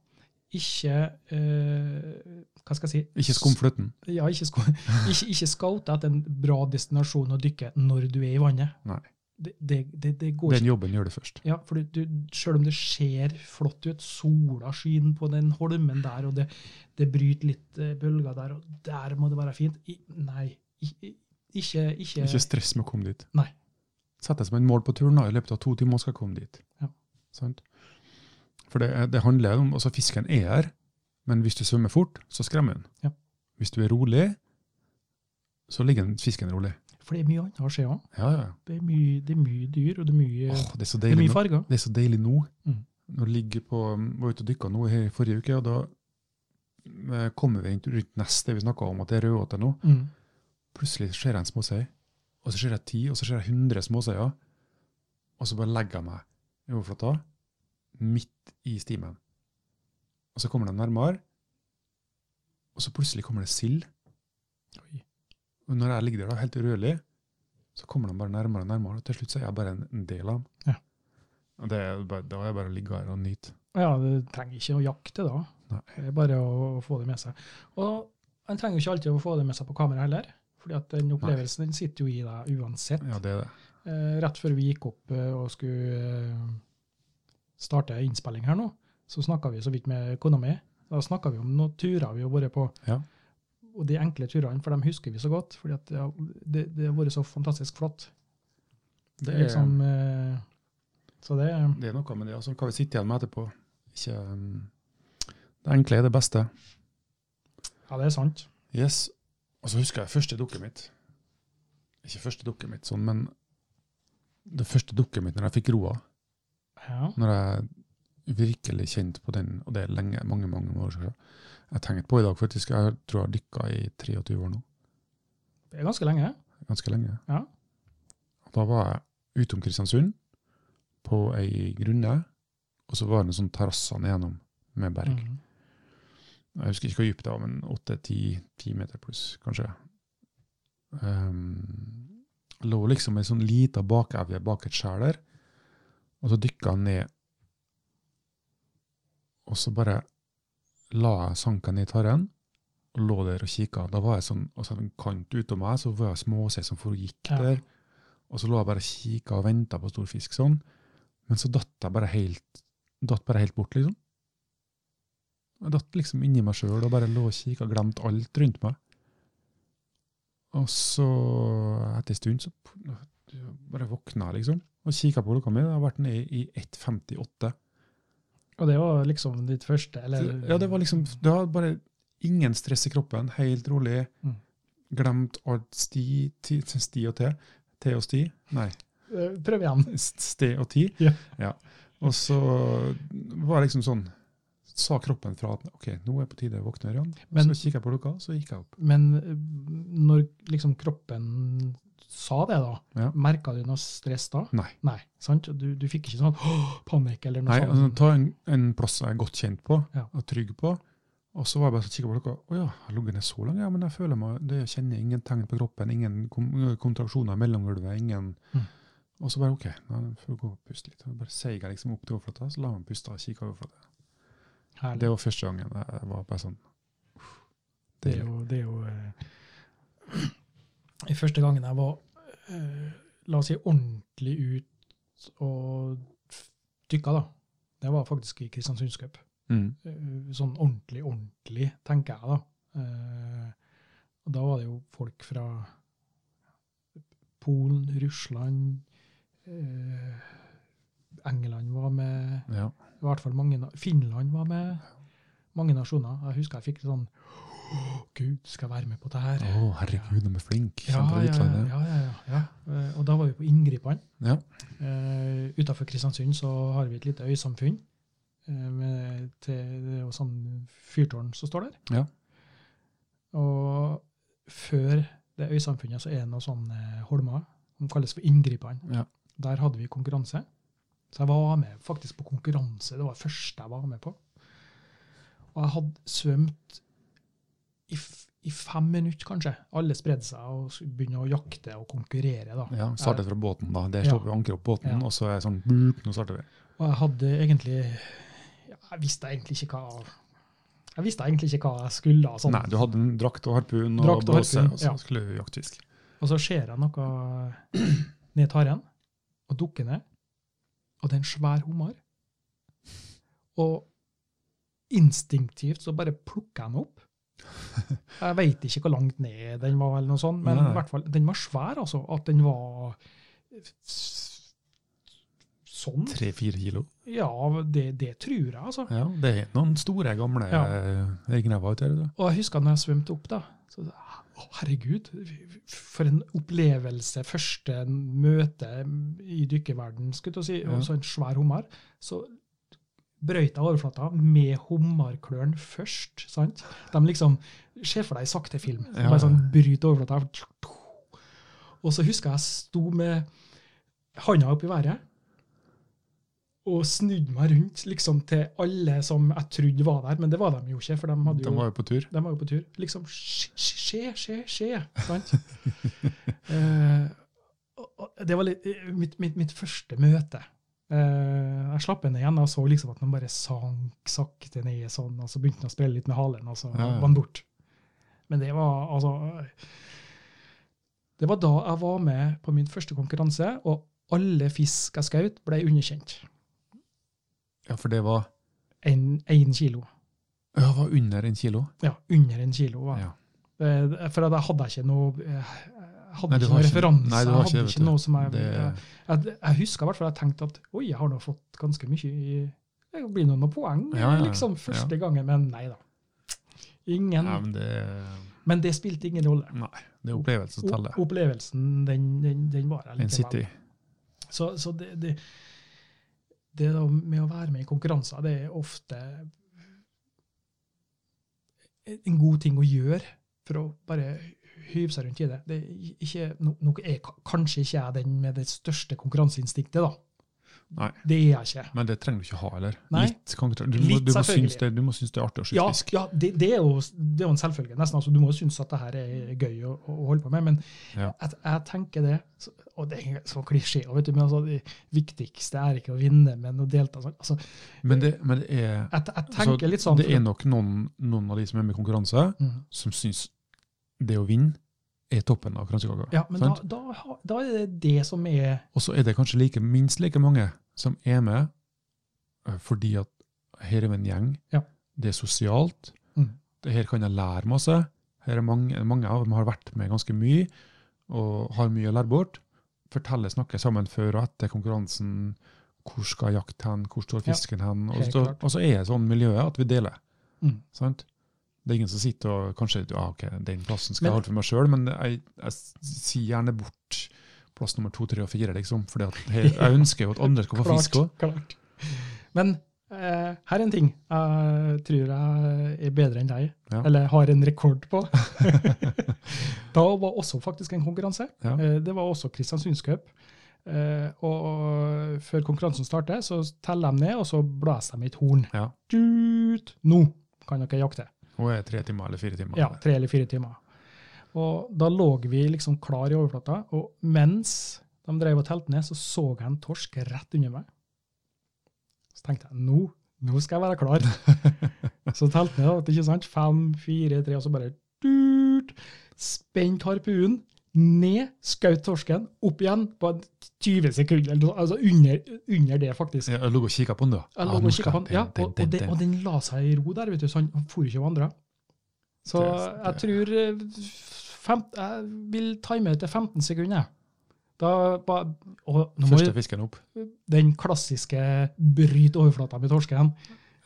Ikke øh, Hva skal jeg si? Ikke skum fløten. Ja, ikke, sko, ikke, ikke scout etter en bra destinasjon å dykke når du er i vannet. Nei. Det, det, det, det går Den ikke. jobben gjør det først. Ja, for du, du, selv om det ser flott ut, sola skinner på den holmen der, og det, det bryter litt eh, bølger der, og der må det være fint. I, nei, i, i, ikke, ikke, Ikke stress med å komme dit. Nei. Sett deg som en mål på turen, da. I løpet av to timer skal jeg komme dit. Ja. Sant? For det, er- det handler jo om Altså, fisken er her, men hvis du svømmer fort, så skremmer den. Ja. Hvis du er rolig, så ligger den fisken rolig. For det er mye annet å se òg. Ja, ja. Det er mye, det er mye dyr, og det er mye, Åh, det er så det er deilig mye nå. farger. Det er så deilig nå. Mm. Når det ligger på, var ute og dykka nå i forrige uke, og da eh, kommer vi rundt- rundt neste vi snakka om, at det er rødåte nå. Mm. Plutselig ser jeg en småsøy, og så ser jeg ti, og så ser jeg hundre småsøyer. Og så bare legger jeg meg i overflata, midt i stimen. Og så kommer de nærmere, og så plutselig kommer det sild. Oi. Og når jeg ligger der da, helt urørlig, så kommer de bare nærmere og nærmere, og til slutt så er jeg bare en, en del av dem. Ja. Og det er bare, da er jeg bare å ligge her og nyte. Ja, du trenger ikke å jakte da. Nei. Det er bare å, å få det med seg. Og en trenger jo ikke alltid å få det med seg på kamera heller, fordi at den opplevelsen den sitter jo i deg uansett. Ja, det er det. Eh, rett før vi gikk opp eh, og skulle eh, starte innspilling her nå, så snakka vi så vidt med kona mi. Da snakka vi om noen turer vi har vært på. Ja. Og de enkle turene, for dem husker vi så godt. fordi at det har- det, det har vært så fantastisk flott. Det er liksom eh, Så det er Det er noe med det. Altså, hva vi sitter igjen med etterpå. Ikke, um, det enkle er det beste. Ja, det er sant. Yes. Og så husker jeg første dukket mitt. Ikke første dukket mitt, sånn, men det første dukket mitt når jeg fikk roa. Ja. Når jeg virkelig kjente på den, og det er lenge, mange mange år siden. Jeg tenkte på i dag, faktisk, jeg tror jeg har dykka i 23 år nå. Det er ganske lenge. Ganske lenge. Ja. Og Da var jeg utom Kristiansund, på ei grunne, og så var det en sånn terrassene igjennom med berg. Mhm. Jeg husker ikke hvor dypt det var, men åtte-ti meter pluss, kanskje. Um, lå liksom ei sånn lita bakevje bak et skjær der, og så dykka han ned. Og så bare la jeg sanka ned i tarren, og lå der og kikka. Da var jeg sånn, og så hadde jeg en kant utom meg, så var jeg småsei som foregikk Ja. der. Og så lå jeg bare og kikka og venta på stor fisk sånn. Men så datt jeg bare helt, datt bare helt bort, liksom. Jeg datt liksom inni meg sjøl og bare lå og kikka og glemte alt rundt meg. Og så, etter en stund, så p- bare våkna jeg, liksom. Og kikka på klokka mi. Jeg har vært nede i 1.58. Og det var liksom ditt første, eller? Ja, det var liksom Du har bare ingen stress i kroppen, helt rolig. Mm. Glemt alt sti, ti, sti og te. Te og sti. Nei, Eh, Prøv igjen. ste og ti. Ja. Og så var det liksom sånn Sa kroppen fra at ok, nå er det på tide å våkne. Ørjan. Men- Så kikka jeg på klokka, så gikk jeg opp. Men eh, når liksom kroppen sa det, da, Ja. merka du noe stress da? Nei. Nei, sant? Du, du fikk ikke sånn «Åh, panikk eller noe Nei, sånt? altså, Ta en, en plass jeg er godt kjent på Ja. og trygg på. Og så var jeg bare så kikket på klokka. Å ja, jeg har ligget ned så lenge, ja, men jeg føler meg, det jeg kjenner ingen tegn på kroppen. Ingen kom, eh, kontraksjoner i mellomgulvet. ingen... Mm. Og så bare OK, nå får jeg gå og puste litt. Og bare seig jeg liksom opp til overflata, så la meg puste og kikke overflata. Herlig. Det var første gangen jeg var bare sånn uff, Det er deilig. jo, det er jo eh, i Første gangen jeg var eh, la oss si ordentlig ut og dykka, da, det var faktisk i Kristiansundscup. Mm. Eh, Sånn ordentlig, ordentlig, tenker jeg da. Eh, Og da var det jo folk fra Polen, Russland eh, England var med Ja. i hvert fall mange, na- Finland var med. Mange nasjoner. Jeg husker jeg fikk litt sånn «Åh, Gud, skal jeg være med på det her? Å, herregud, de er flinke. Ja, ja, ja, utlandet. ja, ja, ja. Eh, Og da var vi på Inngriperen. Ja. Uh, Utafor Kristiansund så har vi et lite øysamfunn. eh, med, til, det er jo sånn fyrtårn som står der. Ja. Og før det øysamfunnet så er det noen sånne holmer som kalles for Inngriperen. Ja. Der hadde vi konkurranse. Så jeg var med faktisk på konkurranse. Det var det første jeg var med på. Og jeg hadde svømt i, f i fem minutter, kanskje. Alle spredde seg og s- begynne å jakte og konkurrere. da. Ja, startet fra båten, da. Det Ja. slår vi anker opp båten, Ja. og så er jeg sånn buk, Nå starter vi. Og jeg hadde egentlig ja, Jeg visste egentlig ikke hva jeg visste egentlig ikke hva jeg skulle. og Sånn. Nei, du hadde en drakt og harpun og Drakt og blåse, harpun, og så ja. skulle du jakte fisk. Og så ser jeg noe ned i taren, og dukker ned. Og det er en svær hummer. Og instinktivt så bare plukker jeg den opp. Jeg veit ikke hvor langt ned den var, eller noe sånt, men Nei, nei. i hvert fall, den var svær, altså. At den var s- sånn. Tre-fire kilo. Ja, det, det tror jeg, altså. Ja, det er noen store, gamle Ja. eh, ringrever ute her. da. Og jeg husker når jeg svømte opp, da. Så, å, herregud, for en opplevelse. Første møte i dykkerverden, skulle jeg til å si. Ja. Og så en svær hummer. Så brøyt jeg overflata med hummerklørne først. sant? De liksom ser for deg i sakte film. Ja, ja. Bare sånn bryter overflata. Og så husker jeg jeg sto med handa opp i været. Og snudde meg rundt liksom til alle som jeg trodde var der, men det var de jo ikke. for de hadde jo... De var jo på tur. De var jo på tur. Liksom skje, skje, skje, skje. Sant? Eh, og- og det var litt, eh, mitt, mitt, mitt første møte. Eh, jeg slapp henne igjen og så liksom at den bare sank sakte ned sånn, og så begynte den å sprelle litt med halen, og så Ja, ja. var den borte. Men det var altså Det var da jeg var med på min første konkurranse, og alle fisk jeg skjøt, ble underkjent. Ja, for det var Én kilo. ja, det var under en kilo. Ja, under en kilo. var jeg. Ja. Eh, For at jeg hadde ikke noe eh, jeg hadde Nei, du ikke har noen ikke- referanse. nei, du jeg har hadde ikke, vet ikke du. noe som jeg, Det- jeg, jeg, jeg husker i hvert fall jeg tenkte at oi, jeg har nå fått ganske mye i Det blir nå noen poeng Ja, ja, liksom første gangen, men nei da. Ingen. Nei, men det, men det spilte ingen rolle. nei, det er opplevelse som teller. O- Opplevelsen, den, den, den var jeg En likevel. city. Så, så det, det, det da med å være med i konkurranser, det er ofte en god ting å gjøre for å bare hyve seg rundt i det. det er ikke, no, nå er ka- kanskje ikke jeg den med det største konkurranseinstinktet, da. Nei. Det er jeg ikke. Men det trenger du ikke ha heller. Nei. Litt, kan ikke tre- du, må, Litt, du, må selvfølgelig. synes det, du må synes det er artig å skyte Ja, fisk. ja det, det, er jo, det er jo en selvfølge. nesten. Altså, du må jo synes at det her er gøy å, å holde på med, men Ja. jeg, jeg tenker det så- Og det er så klisjé. og vet du, men altså, Det viktigste er ikke å vinne, men å delta. sånn. Altså, Men det, men det er jeg, jeg altså, tenker litt sånn Det er nok noen, noen av de som er med i konkurranse, Mm. som syns det å vinne er toppen av kransekaka. Ja, men da, sant? da, ha- da er det det som er Og så er det kanskje like, minst like mange som er med eh, fordi at her er vi en gjeng, Ja. det er sosialt, Mm. det her kan jeg lære masse, her er mange, mange av dem har vært med ganske mye, og har mye å lære bort. Fortelle, snakke sammen før og etter konkurransen, hvor skal jakt hen, hvor står Ja, fisken hen, og helt så, klart. og så er det sånn miljøet at vi deler, Mm. sant? Det er ingen som sitter og kanskje ah, ok, den plassen skal Men- jeg holde for meg sjøl, men jeg, jeg s- sier gjerne bort plass nummer to, tre og fire, liksom. For jeg ønsker jo at andre skal få fisk òg. klart. Men eh, her er en ting jeg tror jeg er bedre enn deg, Ja. eller har en rekord på. da var også faktisk en konkurranse. Ja. Eh, det var også Kristiansunds Cup. Eh, og før konkurransen starter, så teller de ned, og så blåser de i et horn. Ja. Tut! Nå kan dere jakte. Hun er tre timer eller fire timer. Ja, tre eller fire timer. Og da lå vi liksom klar i overflata, og mens de drev og telte ned, så så jeg en torsk rett under meg. Så tenkte jeg nå, nå skal jeg være klar. så telte jeg ned, ikke sant? Fem, fire, tre, og så bare durt, spent harpunen, ned, skaut torsken, opp igjen på 20 sekunder, eller noe, altså under, under det faktisk. Jeg lå og kikka på den, da. Jeg Ah, lå nå og skal kikket på den. Ja, den, og, den, og, den, den. og den la seg i ro der, vet du, så han for ikke å vandre. Så Det- jeg tror eh, fem, Jeg vil time det til 15 sekunder. jeg. Da ba, og nå må Første jeg, fisken opp. den klassiske bryt overflata med torsken.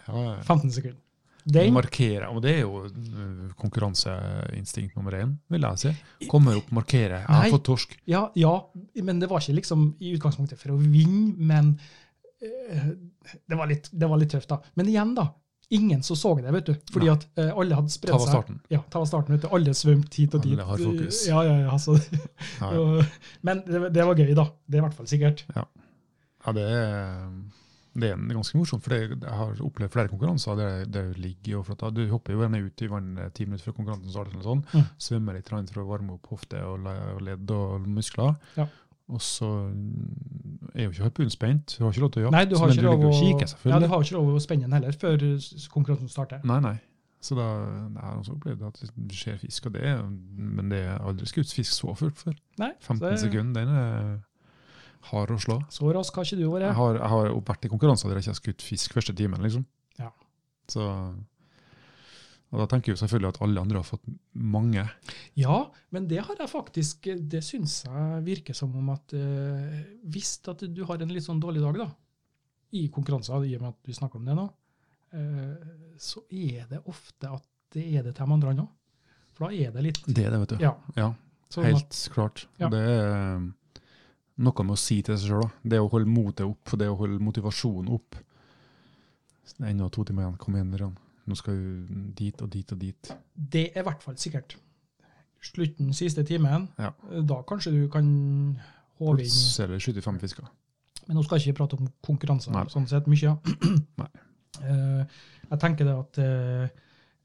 Ja, ja, ja. 15 sekunder. Den, Markere, og det er jo øh, konkurranseinstinkt nummer én, vil jeg si. Kommer opp, markerer. Jeg Nei. har fått torsk. ja, ja, men det var ikke liksom i utgangspunktet for å vinne, men eh, det, var litt, det var litt tøft, da. Men igjen, da. Ingen som så det, vet du. Fordi at eh, alle hadde Ta spredt var seg. starten. Ja, ta starten ute. Alle svømte hit og Alle dit. har fokus. Ja, ja, ja. Altså, Ja, ja. og- men det, det var gøy, da. Det er i hvert fall sikkert. Ja, det er, det er en ganske morsomt, for det, jeg har opplevd flere konkurranser der det ligger i overflata. Du hopper jo gjerne ut i vannet ti minutter før konkurransen starter, eller sånn, Mm. svømmer litt grann for å varme opp hofte og le- og ledd og muskler. Ja. Og så mm, er jo ikke harpunen spent, du har ikke lov til å jakte, Nei, du har men ikke du lov ligger å, og kikker ja, du selvfølgelig. har ikke lov å spenne den heller før s- konkurransen starter. Nei, nei. Så da jeg har også opplevd at det skjer fisk, og det, er- men det er aldri skutt fisk så fullt før. Nei, 15 så, det- sekunder, den er hard å slå. så rask har ikke du Jeg vært. har, jeg har jo vært i konkurranser der jeg ikke har skutt fisk første timen, liksom. Ja. Så, og da tenker jeg jo selvfølgelig at alle andre har fått mange. Ja, men det har jeg faktisk Det syns jeg virker som om at eh, Hvis at du har en litt sånn dårlig dag, da, i konkurranser, i og med at du snakker om det nå, eh, så er det ofte at det er det til de andre òg. For da er det litt Det er det, vet du. Ja. Ja, sånn at- Helt klart. Ja. Det er noe med å si til seg sjøl, da. Det å holde motet opp, det å holde motivasjonen opp. Så det er Ennå to timer igjen, kom igjen, Ørjan. Nå skal du dit og dit og dit. Det er i hvert fall sikkert. Slutten siste timen, Ja. da kanskje du kan håve inn Plutselig skyter fem fisker. Men nå skal jeg ikke prate om konkurranser Nei. sånn sett mye. Nei. Eh, Jeg tenker det at eh,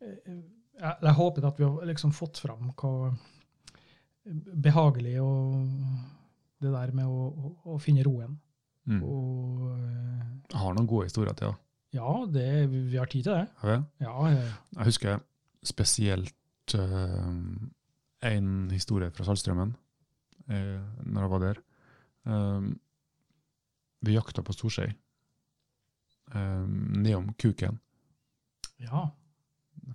eh, Jeg jeg håper at vi har liksom fått fram hva behagelig og det der med å, å, å finne roen. Mm. Og eh, Jeg har noen gode historier til, da. ja, det, vi har tid til det. Har jeg? Ja, eh, Jeg husker spesielt eh, en historie fra Saltstraumen, eh, når jeg var der. Um, vi jakta på storskei um, nedom Kuken, ja.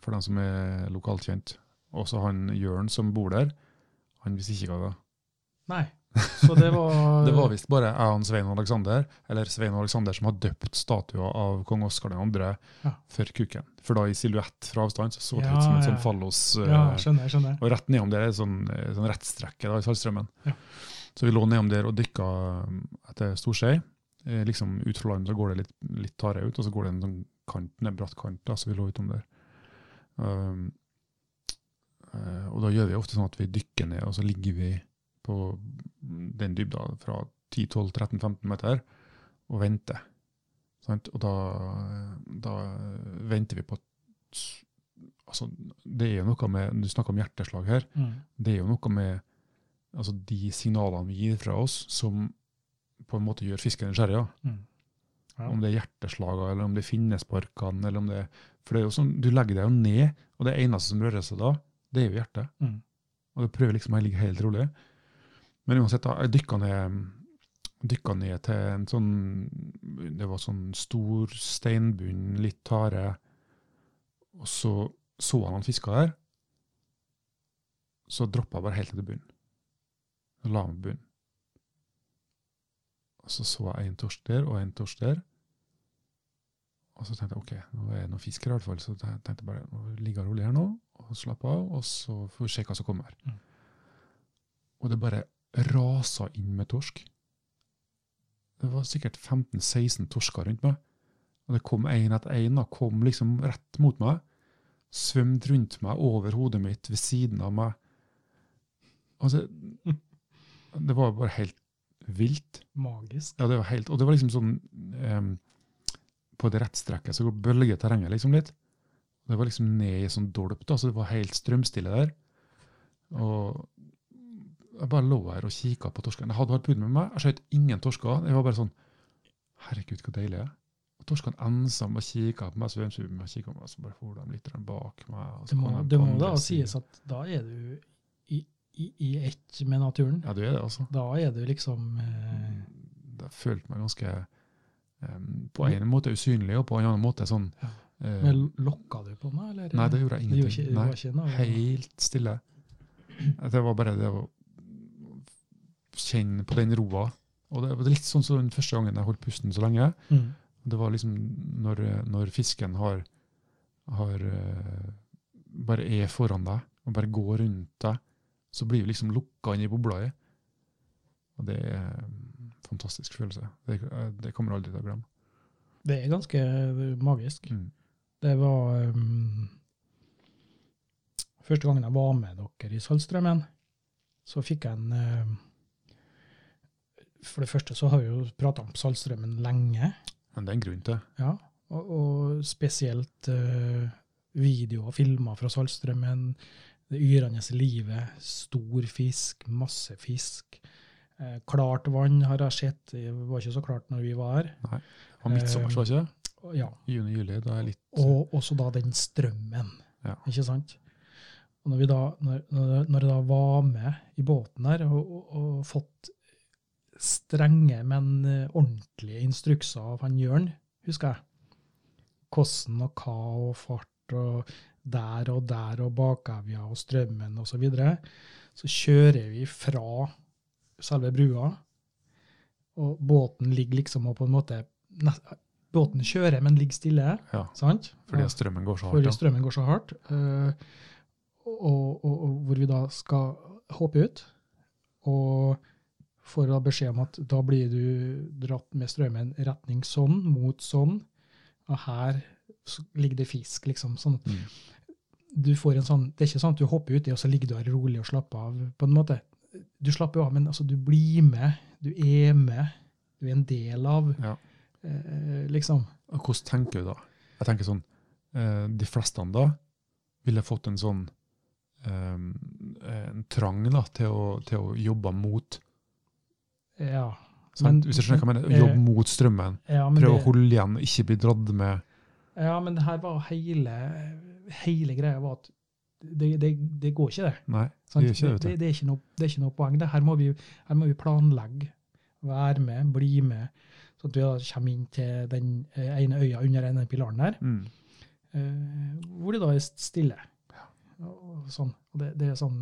for dem som er lokalt kjent. Også han Jørn som bor der, han visste ikke hva det var. Nei. Så det var Det var visst bare jeg og Svein og Alexander, eller Svein og Alexander som har døpt statuer av kong Oskar 2. Ja. for Kuken. For da i silhuett fra avstand så, så det Ja, ut som en ja. sånn fallos. eh, Ja, skjønner, skjønner. Og rett nedom der er sånn, eh, sånn rettstrekke da, i Saltstraumen. Ja. Så vi lå nedom der og dykka um, etter storskei. Eh, Liksom ut fra land så går det litt, litt tare ut, og så går det en sånn kant, en bratt kant, da, så vi lå utom der. Um, eh, og da gjør vi ofte sånn at vi dykker ned, og så ligger vi på den dybda fra 10-12-13-15 meter, og venter. Sant? Og da, da venter vi på at altså, Det er jo noe med Du snakker om hjerteslag her. Mm. Det er jo noe med altså, de signalene vi gir fra oss, som på en måte gjør fisken nysgjerrig. Ja. Mm. Ja. Om det er hjerteslagene, eller om det er finnesparkene, eller om det For det er jo sånn, du legger deg jo ned, og det eneste som rører seg da, det er jo hjertet. Mm. Og du prøver liksom å ligge helt rolig. Men uansett, da, jeg dykka ned, dykka ned til en sånn Det var sånn stor steinbunn, litt tare. Og så så han han fiska der. Så droppa jeg bare helt til bunnen. Og la meg på bunnen. Og så så jeg en torsk der og en torsk der. Og så tenkte jeg ok, nå er det noen fisk her i hvert fall. Så te- tenkte jeg bare nå ligger jeg rolig her nå og slapp av, og så får vi se hva som kommer. Mm. Og det bare rasa inn med torsk. Det var sikkert 15-16 torsker rundt meg. Og det kom én etter én, da. Kom liksom rett mot meg. Svømte rundt meg, over hodet mitt, ved siden av meg. Altså, det var bare helt vilt. Magisk. Ja, det var helt, og det var liksom sånn em, På det rettstrekket så bølger terrenget liksom litt. Det var liksom ned i sånn dolp, da, så det var helt strømstille der. Og jeg bare lå her og kikka på torsken. Jeg hadde hatt pud med meg, jeg skjøt ingen torsker. Jeg var bare sånn Herregud, så deilig det er. Og torskene ensom og kikka på meg, svømte på meg, kikka på meg, så bare for de litt grann bak meg. og så Det må, kom de på det må andre da siden. sies at da er du i, i, i ett med naturen. Ja, du er det, altså. Da er du liksom eh, Jeg følte meg ganske em, På en måte usynlig, og på en annen måte sånn Mm. Ja. eh, Men lokka du på noe, eller? Nei, det gjorde jeg Det gjorde ingenting. ikke, det var ikke noe. Nei, helt stille. Det var bare det å kjenne på den roa. Og det var litt sånn som den første gangen jeg holdt pusten så lenge. Mm. Det var liksom når, når fisken har, har eh, bare er foran deg, og bare går rundt deg, så blir du liksom lukka inn i bobla di. Og det er en fantastisk følelse. Det, det kommer jeg aldri til å glemme. Det er ganske magisk. Mm. Det var um, Første gangen jeg var med dere i Saltstraumen, så fikk jeg en um, For det første så har vi jo prata om Saltstraumen lenge, Men det er en grunn til det. ja, og, og spesielt uh, videoer og filmer fra Saltstraumen. Det yrende livet, stor fisk, masse fisk. Eh, klart vann har jeg sett, det var ikke så klart når vi var her. Eh, Det var midtsommers, var det ikke? det? Og Ja, Juni-juli, da er jeg litt Og også da den strømmen. Ja. Ikke sant? Og når, vi da, når, når- når jeg da var med i båten der og, og, og fått strenge, men eh, ordentlige instrukser av han Jørn, husker jeg. Hvordan og hva og fart og der og der og bakevja og strømmen osv. Så, videre. så kjører vi fra selve brua, og båten ligger liksom og på en måte nes- Båten kjører, men ligger stille. Ja. Sant? Fordi Ja, at strømmen går så hardt. fordi ja. strømmen går så hardt. eh, og, og, og hvor vi da skal hoppe ut. Og får da beskjed om at da blir du dratt med strømmen retning sånn, mot sånn. Og her så ligger det fisk, liksom. Sånn. at Mm. Du får en sånn, det er ikke sånn at du hopper uti, og så ligger du her rolig og slapper av. på en måte. Du slapper jo av, men altså, du blir med. Du er med. Du er en del av, Ja. eh, liksom. Og Hvordan tenker du da? Jeg tenker sånn, eh, De fleste da ville fått en sånn eh, en trang da, til, å, til å jobbe mot. Ja. Men- sant? Hvis du skjønner hva jeg mener, eh, Jobbe mot strømmen. ja men Prøve det- å holde igjen, ikke bli dratt med. Ja, men det her var hele, hele greia var at det, det, det går ikke, det. Nei, sant? det gjør ikke det. det, vet du. det, er ikke noe, det er ikke noe poeng. Det her, må vi, her må vi planlegge, være med, bli med. Så at vi da kommer inn til den eh, ene øya under den ene pilaren der, Mm. eh, hvor det da er stille. Og, og sånn. Og det, det er sånn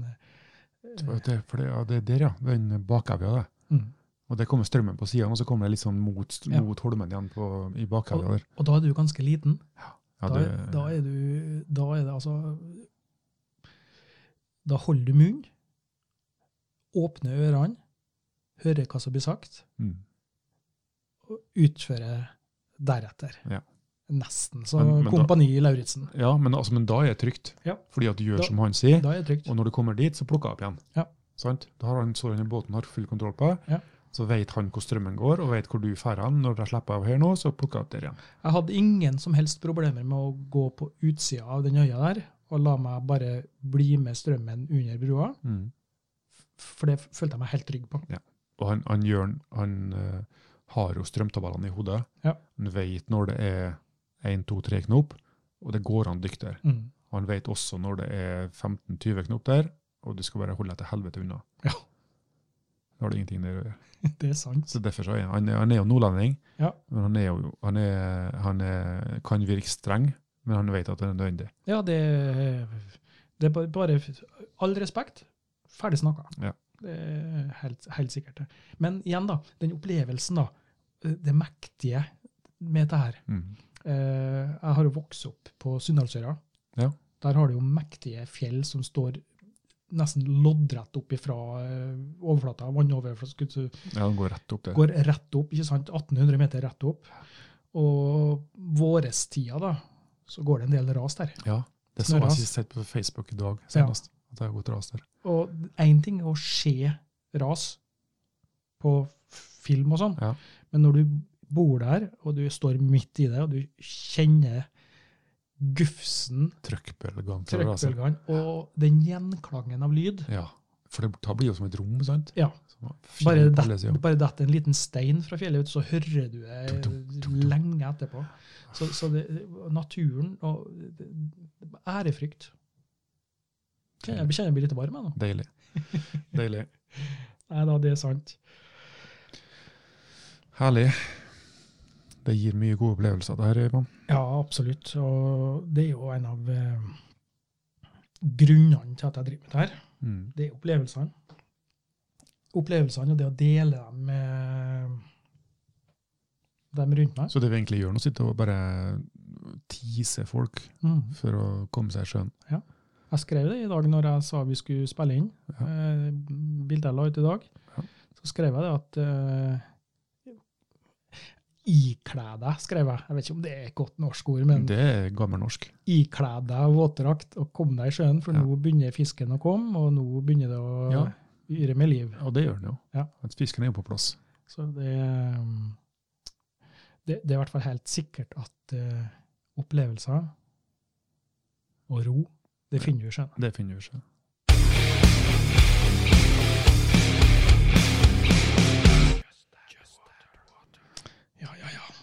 Så Det, for det, ja, det er der, ja. Den bakevja. det. mm. Og der kommer strømmen på siden, og så kommer det litt sånn mot, Ja. mot holmen igjen på, i bakevja der. Og da er du ganske liten. Ja, da, det, er- da er du Da er det altså Da holder du munn, åpner ørene, hører hva som blir sagt, mm. og utfører deretter. Ja. Nesten så Men- men da- Kompani Lauritzen. ja men, altså, men da er det trygt. Ja. Fordi at du gjør Da- som han sier. Da er det trygt. Og når du kommer dit, så plukker jeg opp igjen. Ja. Sant? Da har han så denne båten har full kontroll på deg. Ja. Så vet han hvor strømmen går, og vet hvor du drar hen. Når de slipper av her nå, så plukker jeg opp der igjen. Jeg hadde ingen som helst problemer med å gå på utsida av den øya der og la meg bare bli med strømmen under brua, f- for det følte jeg meg helt trygg på. Og han, han, gjør, han eh, har jo strømtabellene i hodet. Ja. Han vet når det er 1, 2, 3 knop, og det går an dykt der. Mm. Han vet også når det er 15-20 knop der, og du skal bare holde deg til helvete unna. Ja. Da har du ingenting der å gjøre. Det er sant. Så derfor så er han, han er jo nordlending, Ja. men han, er jo, han, er, han er, kan virke streng, men han vet at det er nødvendig. Ja, det, det er ba- bare All respekt, ferdig snakka. Ja. Det er helt, helt sikkert. det. Men igjen, da. Den opplevelsen, da. Det mektige med det her. Mm. Eh, jeg har jo vokst opp på Sunndalsøra. Ja. Der har du jo mektige fjell som står nesten loddrett opp ifra eh, overflata. Vannoverflata så Ja, han går rett opp der. går rett opp, ikke sant? 1800 meter rett opp. Og vårestida, da, så går det en del ras der. Ja, det så jeg Snøras. sist sett på Facebook i dag senest, at det har gått ras der. Og én ting er å se ras på film og sånn, Ja. men når du bor der, og du står midt i det, og du kjenner gufsen Trøkkbølgene. fra raset. Trekkbølgene og den gjenklangen av lyd. altså. Ja, for det da blir jo som et rom, sant? Ja. Som Bare fjell på alle detter sider. bare detter en liten stein fra fjellet, ut, så hører du det lenge etterpå. Så, så det, naturen og det- det- Ærefrykt. Kjenner Jeg kjenner jeg blir litt varm, jeg nå. Deilig. Deilig. Nei da, det er sant. Herlig. Det gir mye gode opplevelser, det her, Ivan. Ja, absolutt. Og det er jo en av eh, grunnene til at jeg driver med det her. Mm. Det er opplevelsene. Opplevelsene og det å dele dem med dem rundt meg. Så det vi egentlig gjør nå, sitter og bare teaser folk Mm. for å komme seg i sjøen. Jeg skrev det i dag når jeg sa vi skulle spille inn. Ja. Eh, bildet jeg la ut i dag. Ja. Så skrev jeg det at eh, Ikle deg, skrev jeg. Jeg vet ikke om det er et godt norsk ord, men Det er gammel norsk. ikle deg våtdrakt og kom deg i sjøen, for Ja. nå begynner fisken å komme, og nå begynner det å Ja. yre med liv. Og det gjør den jo. Ja. At fisken er jo på plass. Så det, um, det, det er i hvert fall helt sikkert at eh, opplevelser og ro, det finner du i sjøen. Det finner vi ikke. Ja, ja, ja.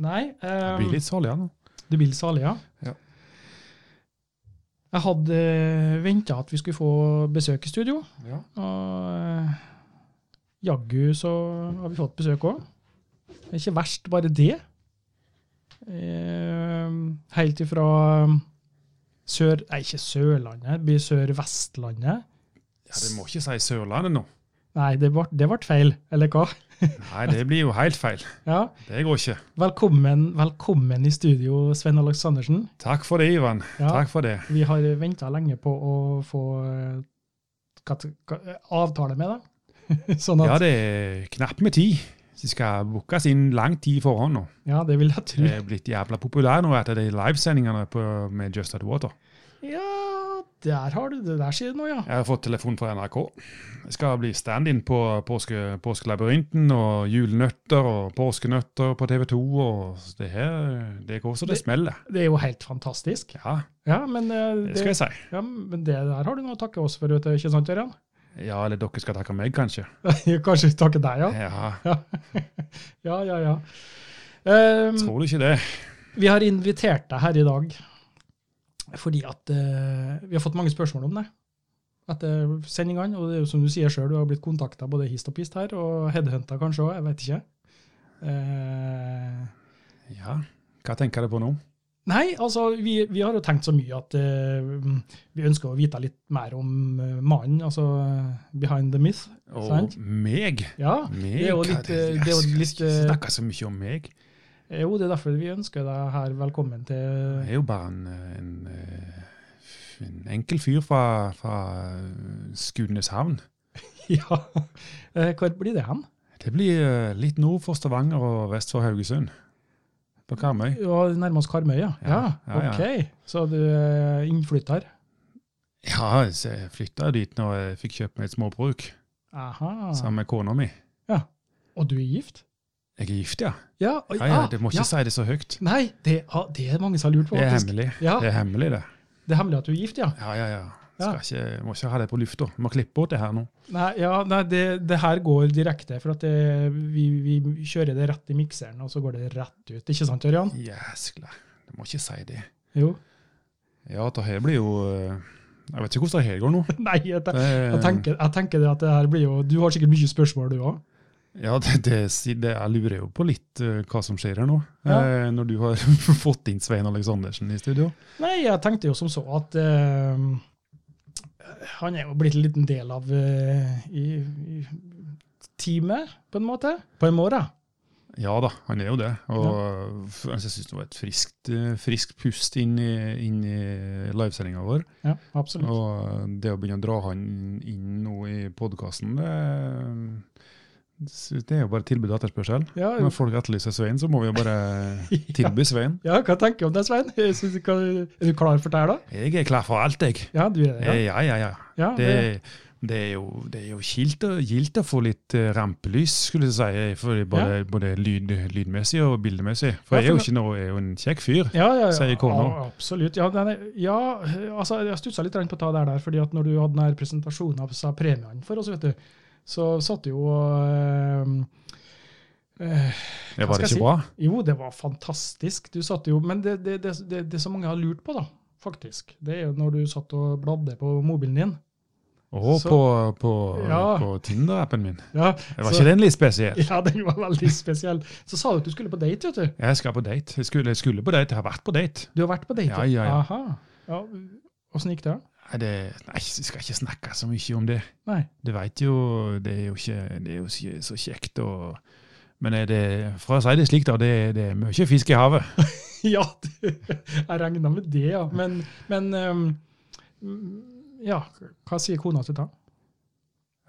Nei, Jeg um, blir litt salig igjen nå. du blir litt salig, ja. Ja. Jeg hadde venta at vi skulle få besøk i studio, Ja. og eh, jaggu så har vi fått besøk òg. Det er ikke verst, bare det. Eh, helt ifra um, sør... Nei, ikke Sørlandet, det blir Sør-Vestlandet. Vi må ikke si Sørlandet nå. Nei, det ble, det ble feil, eller hva? Nei, det blir jo helt feil. Ja, Det går ikke. Velkommen, velkommen i studio, Svein Aleksandersen. Takk for det, Ivan. Ja, for det. vi har venta lenge på å få eh, kat- ka- eh, avtale med deg. sånn Ja, at, det er knapt med tid. Så det skal bookes inn lang tid i forhånd nå. ja, det vil jeg tro. Det er blitt jævla populær nå etter de livesendingene på, med Just At Water. Ja, der har du det. Der sier du noe, ja. Jeg har fått telefon fra NRK. Jeg skal bli stand-in på påske, Påskelabyrinten og Julenøtter og Påskenøtter på TV 2. og Det her, det går så det Det- smeller. Det er jo helt fantastisk. Ja, Ja, men, eh, det skal det, jeg si. ja, men det der har du noe å takke oss for, vet du, ikke sant, Ørjan? Ja, eller dere skal takke meg, kanskje. Kanskje vi takker deg, ja? Ja, Ja, ja, ja. Ehm, tror du ikke det? vi har invitert deg her i dag fordi at eh, vi har fått mange spørsmål om det etter sendingene, og det er jo som du sier sjøl, du har blitt kontakta både hist og pist her, og headhunta kanskje òg, jeg vet ikke. Eh, Ja, hva tenker du på nå? Nei, altså, vi, vi har jo tenkt så mye at eh, vi ønsker å vite litt mer om eh, mannen, altså eh, behind the myth. Og Sant. meg? Ja, meg? Det er jo Hva litt, eh, det er jo Jeg skal litt, ikke eh, snakke så mye om meg. eh, jo, det er derfor vi ønsker deg her velkommen til Jeg er jo bare en, en, eh, en enkel fyr fra, fra eh, Skudeneshavn. Ja, Eh, hvor blir det hen? Det blir eh, litt nord for Stavanger og vest for Haugesund. På Karmøy. Ja, nærmest Karmøy, ja. Ja, Ja, ja, ja. ok. Så du er innflytter. Ja, så jeg flytta dit når jeg fikk kjøpt meg et småbruk Aha. sammen med kona mi. Og du er gift? Jeg er gift, ja. Ja. og- ja, ja ah, du må ikke ja. si det så høyt. Nei, det, ah, det er mange som har lurt på, Det er faktisk. Ah. hemmelig, Ja, det. er hemmelig det. det er hemmelig at du er gift, ja. Ja, ja, ja. Skal ikke, jeg må ikke ha det på lufta. Må klippe bort det her nå. Nei, ja, nei det, det her går direkte, for at det, vi, vi kjører det rett i mikseren, og så går det rett ut. Ikke sant, Ørjan? Jæskla. Du må ikke si det. Jo. Ja, det her blir jo eh, Jeg vet ikke hvordan det her går nå. Eh, Nei, jeg, te- Det, jeg, tenker, jeg tenker det at det her blir jo Du har sikkert mye spørsmål, du òg. Ja, det, det, si- det, jeg lurer jo på litt eh, hva som skjer her nå. Ja. Eh, når du har fått inn Svein Aleksandersen i studio. Nei, jeg tenkte jo som så at eh, han er jo blitt en liten del av eh, i, i teamet, på en måte. På en måte. Ja da, han er jo det. Og f- altså, jeg syns det var et friskt, eh, friskt pust inn i, inn i livesendinga vår. Ja, absolutt. Og eh, det å begynne å dra han inn nå i podkasten, det, det er jo bare tilbud og etterspørsel. Ja, Når folk etterlyser Svein, så må vi jo bare tilby Svein. ja, hva tenker du om det, Svein? Jeg synes, hva, er du klar for det her, da? Jeg er klar for alt, jeg. Ja, du er Ja, det. ja, ja. ja. Ja, ja Det, det er jo, det er jo kilt, å- gildt å få litt eh, rampelys, skulle jeg si, for både, både lyd, lydmessig og bildemessig. For Ja, jeg er for jo ikke noe, jeg er jo en kjekk fyr. Ja, ja, ja. Sier kona. Ja, absolutt. Ja, nei, nei, ja, altså, jeg stussa litt på å ta det der, fordi at når du hadde den her presentasjonen av sa premiene for oss, vet du, så satt jo eh, eh, Det Hva var skal ikke jeg bra. Jo, det var fantastisk. Du satt jo, Men det, det, det, det, det som mange har lurt på, da, faktisk, det er jo når du satt og bladde på mobilen din. Og Så- på, på, Ja. på Tinder-appen min. Ja, Det var så- ikke den litt spesiell? ja, den var veldig spesiell. Så sa du at du skulle på date, vet du. Jeg skal på date. Jeg skulle, jeg skulle på date. Jeg har vært på date. Du har vært på date? Ja, ja, ja. Aha. Ja, Åssen gikk det? da? Nei, det, nei, jeg skal ikke snakke så mye om det. Nei. Du veit jo, det er jo ikke, det er jo ikke så kjekt å Men er det, for å si det slik, da, det, er- det er mye fisk i havet. Ja, du, jeg regna med det, ja. Men, men ehm, ja, hva sier kona til da?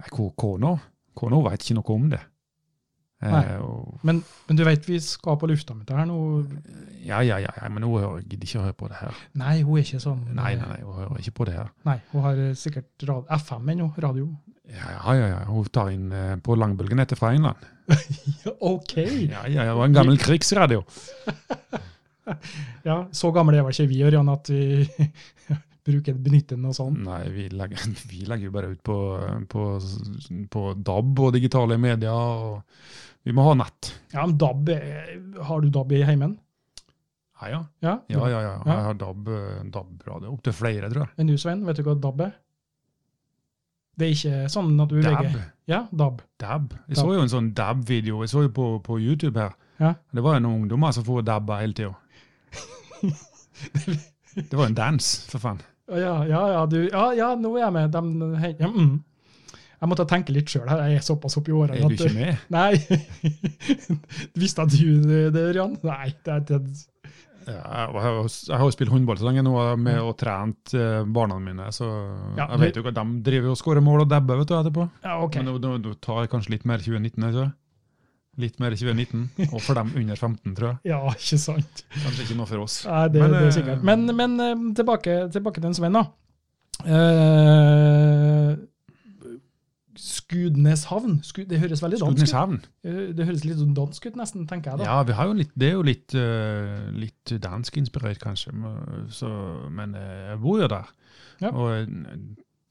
Nei, ko- Kona Kona vet ikke noe om det. Nei. Eh, og, Men, men du vet vi skal på lufta med det her nå? ja, ja, ja, ja, men hun hører- gidder ikke å høre på det her. Nei, hun er ikke sånn. Nei, nei, nei, hun hører ikke på det her. Nei, hun har eh, sikkert rad FM ennå, radio. Ja, ja, ja, ja. Hun tar inn eh, på langbølgen etter fra England. OK! Ja, ja, ja, det var En gammel krigsradio. Ja, Så gamle er vel ikke vi, Ørjan, at vi bruker benytter den og sånn. Nei, vi legger, vi legger jo bare ut på, på, på DAB og digitale medier. og Vi må ha nett. Ja, men DAB, eh, har du DAB i heimen? Ja, ja. Ja? Ja, ja, ja. Ja. Jeg har DAB, eh, DAB-radio. Opptil flere, tror jeg. Men du, Svein, vet du hva DAB er? Det er ikke sånn at du DAB. legger Ja, DAB. DAB. Jeg DAB. så jo en sånn DAB-video jeg så jo på, på YouTube her. Ja. Det var jo noen ungdommer som får dabba hele tida. Det var en dans, for faen. Ja, ja, ja, du, ja, ja nå er jeg med. Dem, hei, ja, mm. Jeg måtte tenke litt sjøl, jeg er såpass oppi årene. Er du ikke at- med? Nei. Visste du det, det, Ørjan? Nei. Det, er- det, Ja, jeg har jo- jeg har jo spilt håndball så lenge nå og med og trent eh, barna mine, så Ja, jeg du- vet jo hva de driver og skårer mål og dabber vet du, etterpå. ja, OK. Men nå, nå, nå tar jeg kanskje litt mer 2019, ikke sant? Litt mer 2019, og for dem under 15, tror jeg. Ja, ikke sant. Kanskje ikke noe for oss. Nei, det, Men, det er eh, sikkert. Men, men eh, tilbake, tilbake til en Sven, da. Eh, Skudneshavn. Sku, det høres veldig dansk ut. Skudeneshavn. Eh, Det høres litt sånn dansk ut, nesten, tenker jeg da. Ja, vi har jo litt, det er jo litt, eh, litt dansk-inspirert, kanskje. men- Så, men eh, jeg bor jo der. Ja. Og, eh,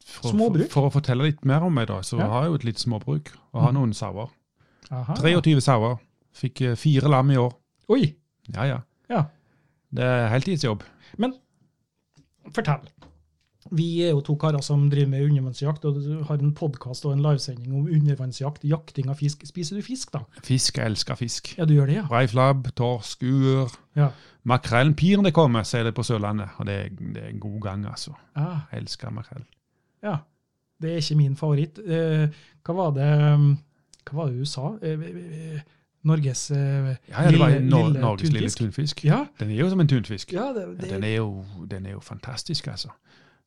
for, Småbruk? For, for å fortelle litt mer om meg, da, så Ja. har jeg jo et lite småbruk. Og har Mm. Ah, noen sauer. Aha. 23 sauer. Fikk eh, fire lam i år. Oi! Ja, ja. Ja. Det er heltidsjobb. Fortell. Vi er jo to karer som driver med undervannsjakt, og du har en podkast og en livesending om undervannsjakt, jakting av fisk. Spiser du fisk, da? Fisk, jeg elsker fisk. Ja, du gjør det, ja? Reiflabb, torsk, uer. Ja. Makrellen pir det kommer, sier det på Sørlandet. Og det er, det er god gang, altså. Ah, Jeg elsker makrell. ja. Det er ikke min favoritt. Eh, hva var det um, Hva var det du sa? Eh, eh, eh, Norges eh, Ja, ja, det var lille, Nor lille Norges lille tunfisk? tunfisk. Ja, Den er jo som en tunfisk. ja det, Ja, det, den, er jo, den er jo fantastisk, altså.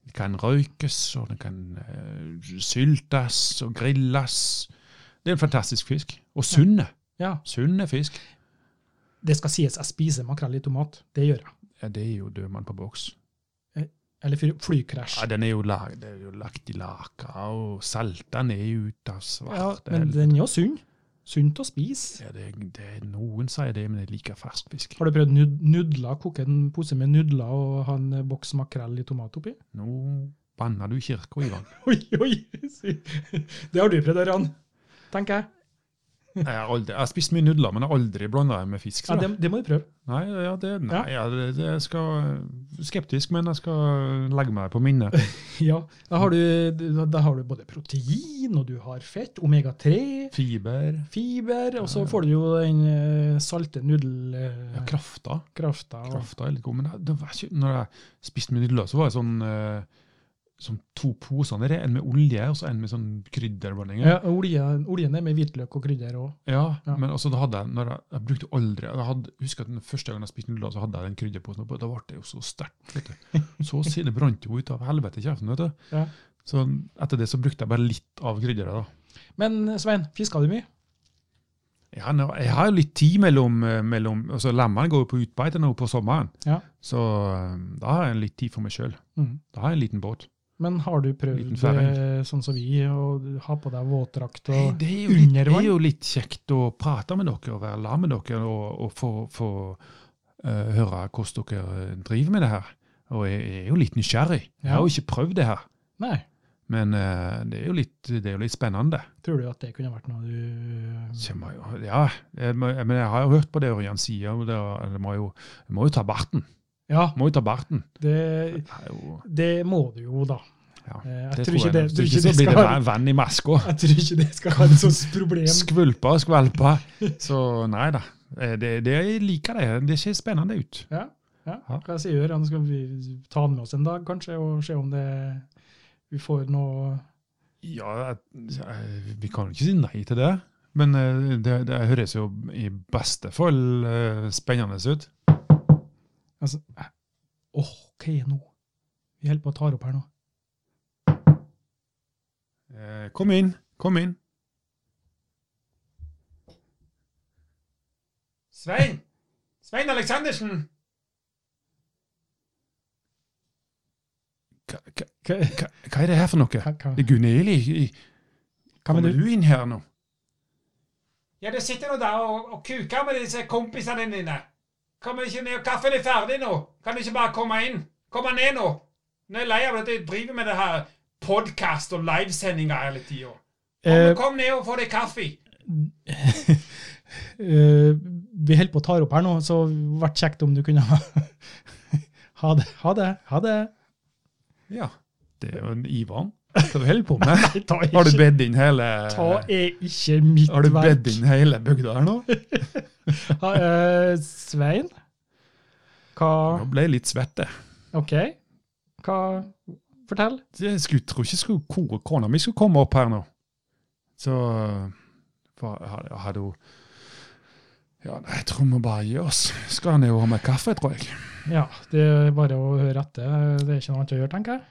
Den kan røykes, og den kan eh, syltes og grilles. Det er en fantastisk fisk. Og sunne. ja. Sunne fisk. det skal sies, jeg spiser makrell i tomat. Det gjør jeg. Ja, det er jo dødmann på boks. Eller fyr- flykrasj. Ja, den er jo, lag, det er jo lagt i laka og salta ned ut av Ja, svart. men den er jo sunn. Sunt å spise. Ja, det, det, noen sier det, men jeg liker fersk fisk. Har du prøvd nud- nudler? Koke en pose med nudler og ha en eh, boks makrell i tomat oppi? Nå banner du i kirka, Ivan. Oi, oi! si- Det har du prøvd, Ørjan. Tenker jeg. Jeg har, aldri, jeg har spist mye nudler, men jeg har aldri blanda dem med fisk. Ja, tror jeg. det, det må du prøve. Nei, ja, det, nei ja, det, det jeg skal Skeptisk, men jeg skal legge meg på minnet. Ja, da har, du, da- da har du både protein, og du har fett, omega-3, Fiber. fiber, og Ja, så ja. får du jo den eh, salte Ja, nudelkrafta. krafta. krafta og- Krafta er litt god, men det, det var ikke, når jeg spiste med nudler, så var det sånn eh, som to poser nedi. En med olje og så en med sånn krydderblandinger. Ja, oljen, oljen er med hvitløk og krydder òg. Ja, Ja. men altså, da hadde jeg, når jeg, jeg brukte aldri jeg hadde, husker at den første gangen jeg spiste nudler, så hadde jeg den krydderposen oppå. Da ble det jo så sterkt. vet du. Så å si det brant jo ut av helvete i kjeften. vet du. Ja. Så etter det så brukte jeg bare litt av krydderet. da. Men Svein, fiska du mye? Jeg har, nå- jeg har jo litt tid mellom, eh, mellom altså Lemmene går jo på utbeite nå på sommeren, Ja. så eh, da har jeg litt tid for meg sjøl. Mhm. Da har jeg en liten båt. Men har du Liten prøvd færing. eh, sånn som vi, å ha på deg våtdrakt Hei, og det, er jo litt, under det er vann? jo litt kjekt å prate med dere og være sammen med dere og, og få, få eh, høre hvordan dere eh, driver med det her. Og jeg er jo litt nysgjerrig. Jeg har jo ikke prøvd det her, Nei. men eh, det, er jo litt, det er jo litt spennende. Tror du at det kunne vært noe du Så jeg må jo, ja, jeg, må, jeg, men jeg har jo hørt på det Ørjan sier, og det, jeg, må jo, jeg må jo ta barten. Ja, Jeg må jo ta barten. det, Det er jo, det må du jo, da. ja. Eh, Jeg Det tror ikke det, Hvis tror ikke ikke så det blir skal det være- vann, vann i maska. jeg tror ikke det skal være et sånt problem. Skvulpa og skvalpa. Så nei da. Eh, Det, det, jeg liker det. Det ser spennende ut. Ja, ja. Ja. Hva sier du? Ørjan? Skal vi ta den med oss en dag, kanskje, og se om det, vi får noe Ja, jeg- jeg- vi kan jo ikke si nei til det. Men eh, det, det høres jo i beste fall eh, spennende ut. Altså, eh, åh, hva er det nå? Vi holder på å ta opp her nå. Eh, Kom inn, kom inn. Svein! Svein Aleksandersen! Hva, hva, Hva, hva, hva er det her for noe? hva, hva, Det er Gunhild i- i- hva Kommer mener du? du inn her nå? Ja, du sitter nå der og, og kuker med disse kompisene dine. Kommer ikke ned, og Kaffen er ferdig nå. Kan du ikke bare komme inn? Kom her ned nå. Nå er jeg lei av at jeg driver med det her podkast og livesendinger hele tida. Kom, Eh, kom ned og få deg kaffe. eh, vi holder på å ta opp her nå, så det vært kjekt om du kunne ha Ha det, ha det, ha det. Ja. Det er jo en Ivan. Hva du holder på med? Ta Har du ikke, bedt inn hele ta er ikke mitt Har du bedt verk. inn hele bygda her nå? Ha, eh, Svein? Hva Nå ble jeg litt svett, jeg. OK. Hva Fortell. Jeg skulle, tror ikke skulle ko- kona mi skulle komme opp her nå. Så for, hadde, hadde hun Ja, nei, jeg tror vi bare gir oss. Skal ned og ha meg kaffe, tror jeg. Ja, det er bare å høre etter. Det er ikke noe annet å gjøre, tenker jeg.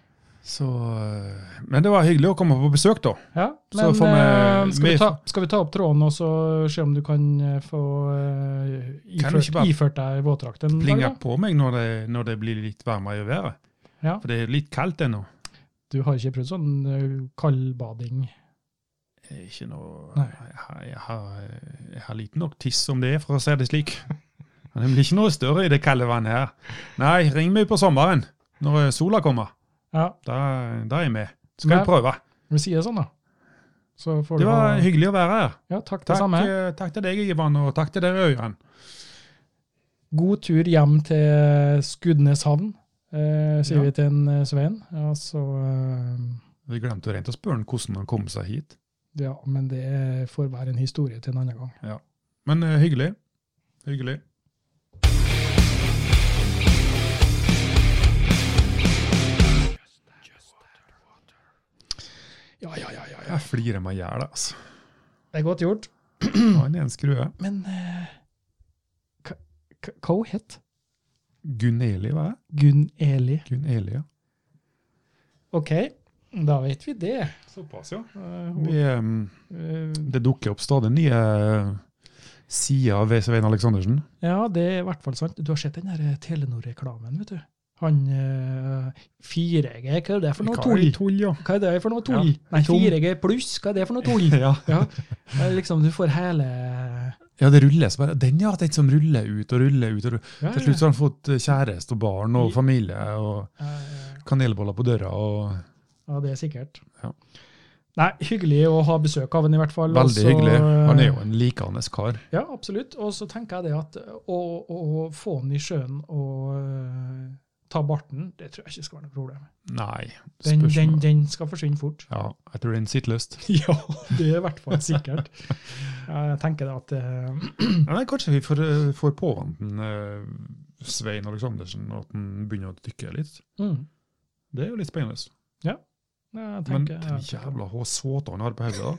Så eh, Men det var hyggelig å komme på besøk, da. Ja, Så men får vi- eh, skal, vi vi- ta, skal vi ta opp tråden og så se om du kan eh, få eh, Kan du iført, ikke bare iført deg våtdrakten? en Plinga dag, da? på meg når det, når det blir litt varmere i været. Ja. For det er litt kaldt ennå. Du har ikke prøvd sånn eh, kaldbading? Jeg er Ikke noe Nei. jeg, har- jeg, har, jeg har liten nok tiss som det er, for å si det slik. Men det blir ikke noe større i det kalde vannet her. Nei, ring meg på sommeren når sola kommer. Ja, Da, da er jeg med. Så skal Ja. jeg prøve. vi sier det sånn, da. Så får Det du var ha- hyggelig å være her. Ja, takk, det Takk, samme. eh, takk til deg, Ivan, og takk til dere, Øyvind. God tur hjem til Skudeneshavn, eh, sier Ja. vi til en eh, Svein. Ja, så, eh, Vi glemte rent å spørre han hvordan han kom seg hit. ja, men det får være en historie til en annen gang. Men eh, hyggelig. Hyggelig. Ja, ja, ja. ja, ja. Jeg flirer meg i hjel, altså. Det er godt gjort. Han er en skrue. Men eh, hva- hva hva hun het Gunn-Eli, hva er det? Gunn Eli. Gunn-Eli, ja. Ok, da vet vi det. Såpass, ja. Eh, hun- Vi, ehm, eh, Det dukker opp stadig nye eh, sider ved Svein Aleksandersen. ja, det er i hvert fall sant. Du har sett den der eh, Telenor-reklamen, vet du. Han eh, 4G, hva er det for noe Hva er tull? det? tull ja. Hva er det for noe tull? Ja, Nei, tom. 4G pluss, hva er det for noe tull? Ja. Ja, det er liksom, du får hele ja, det ruller så bare. Den ja, den som ruller ut og ruller ut. Og, ruller. ja, Til slutt så har han fått eh, kjæreste og barn og familie og ja, ja. kanelboller på døra. og Ja, det er sikkert. Ja. Nei, hyggelig å ha besøk av han i hvert fall. og Veldig så- eh, hyggelig. Han er jo en likende kar. Ja, absolutt. Og så tenker jeg det at å, å å få han i sjøen og øh, ta barten, det tror jeg ikke skal være noe problem. Nei, Den, den, spørsmål. den skal forsvinne fort. Ja, jeg tror den sitter løst. Ja, det er i hvert fall sikkert. Jeg tenker det at øh, Nei, nei, kanskje vi får, eh, får påvant den, eh, Svein Aleksandersen, og at den begynner å dykke litt. mm, Det er jo litt spennende. jeg Men tenker, den jævla såta han har på hodet, da.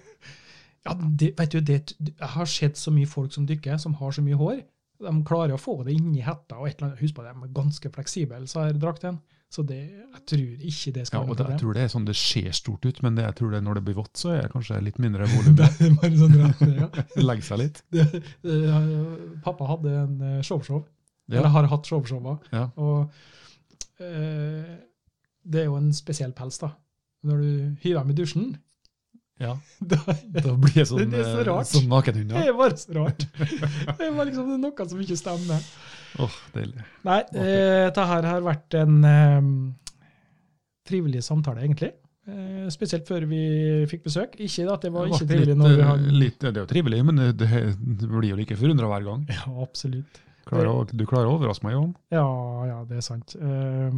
Ja, det, vet du, det, jeg har sett så mye folk som dykker, som har så mye hår. De klarer å få det inni hetta og et eller annet. Husk på, de er ganske fleksible, så her drakten. Så det, jeg tror ikke det Ja, skal være og det, noe jeg problem. tror det er sånn det ser stort ut, men det, jeg tror det er når det blir vått, så er det kanskje litt mindre volum. Det er bare sånn rart, ja. Legger seg litt. Det- det- Pappa hadde en eh, showshow, Ja. eller har hatt showshowa, Ja. og eh, det er jo en spesiell pels, da. Når du hiver dem i dusjen, Ja, da Da blir jeg sånn, Det er så eh, rart. sånn nakenhund, det ja. er bare så rart. Det var liksom noe som ikke stemmer. Åh, deilig. Nei, eh, det her har vært en eh, trivelig samtale, egentlig. Eh, spesielt før vi fikk besøk. Ikke at det var ikke ble trivelig litt, når vi eh, hadde litt, Det er jo trivelig, men det, det det blir jo like forundra hver gang. Ja, absolutt. Klarer, å- du klarer å overraske meg, Johan. Ja, ja, det er sant. Eh,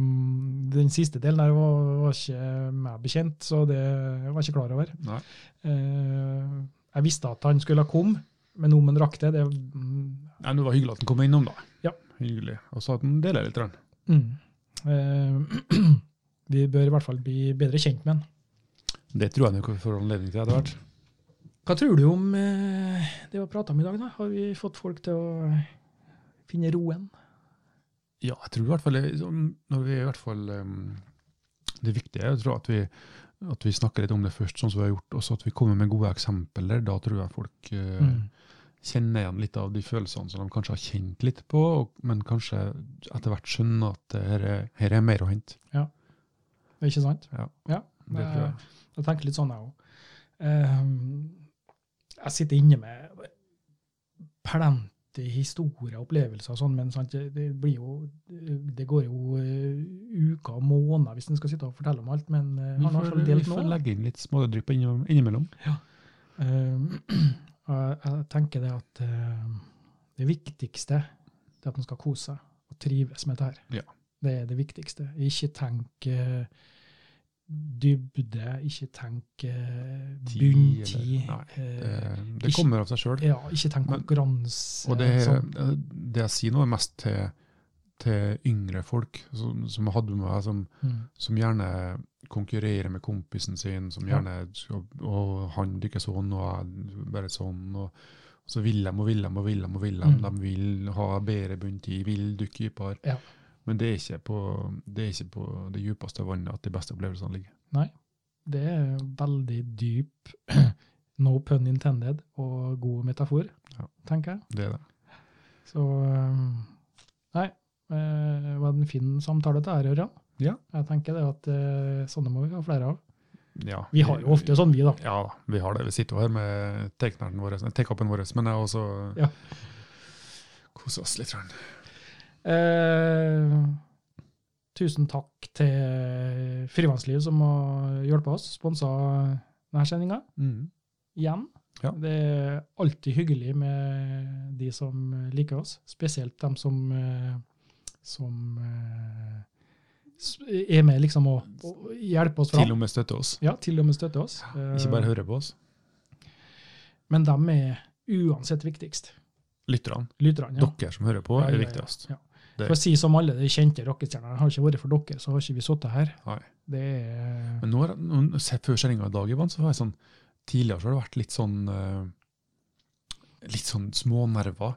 den siste delen der var, var ikke meg bekjent, så det var jeg ikke klar over. Nei. Eh, jeg visste at han skulle komme, men om han rakk det, det mm, Nei, men Det var hyggelig at han kom innom, da. Ja. Hyggelig. Og så at han deler litt. grann. mm. Eh, Vi bør i hvert fall bli bedre kjent med han. Det tror jeg nok vi får anledning til etter hvert. Hva tror du om eh, det vi har prata om i dag? da? Har vi fått folk til å finne roen? Ja, jeg tror i hvert fall det- sånn, når vi i hvert fall um, Det viktige er jeg tror at vi, at vi snakker litt om det først, sånn som vi har gjort, og så at vi kommer med gode eksempler. Da tror jeg folk eh, Mm. kjenner igjen litt av de følelsene som de kanskje har kjent litt på, og, men kanskje etter hvert skjønner at det her, er- her er mer å hente. Ikke sant? Ja. Ja, Det tror jeg. Jeg tenker litt sånn, jeg òg. jeg sitter inne med plenty historier og opplevelser og sånn, men sant, det, det blir jo Det går jo eh, uker og måneder hvis en skal sitte og fortelle om alt, men eh, Vi han har får, sånn vi delt nå. får legge inn litt smådrypp innom- innimellom. Eh, og jeg tenker det at eh, det viktigste det er at en skal kose seg og trives med dette. her. Ja. Det er det viktigste. Ikke tenk eh, dybde, ikke tenk eh, Tid, bunntid. eller- nei, Det, eh, det ikke- kommer av seg sjøl. ja, ikke tenk Men- konkurranse. Og det, eh, sånn. det jeg sier nå, er mest til, til yngre folk som, som jeg hadde med meg, som, Mm. som gjerne konkurrerer med kompisen sin, som Ja. gjerne og, og han dykker sånn, og jeg bare sånn. og så vil de og vil de og vil de. og vil De Mm. De vil ha bedre bunntid, vil dukke dypere. Ja. Men det er, ikke på, det er ikke på det djupeste vannet at de beste opplevelsene ligger. Det er veldig dyp, no pun intended, og god metafor, Ja. tenker jeg. Det er det. Så um, Nei, eh, det var en fin samtale til ære, Ørjan. Ja. Jeg tenker det at eh, sånne må vi ha flere av. Ja. Vi har jo ofte sånn, vi, da. Ja da, vi har det. Vi sitter jo her med take-upen vår, take-upen vår, men jeg har også Ja. koser oss litt. grann. Eh, tusen takk til Frivannsliv som har hjulpet oss, sponsa denne sendinga igjen. Ja. Det er alltid hyggelig med de som liker oss, spesielt dem som, eh, som eh, s- er med liksom å, å hjelpe oss Til fram. og med støtter oss. Ja, til og med støtter oss. Ikke Eh. bare hører på oss. Men dem er uansett viktigst. Lytterne, Lytterne. Ja. dere som hører på, Ja, ja, er ja. viktigst. Ja. det- For å si som alle de kjente rockestjernene, har ikke vært for dere, så har ikke vi sittet her. Nei. Det er Men nå, er- nå se- før sendinga i dag, Ivan, så var jeg sånn Tidligere så har det vært litt sånn eh, Litt sånn smånerver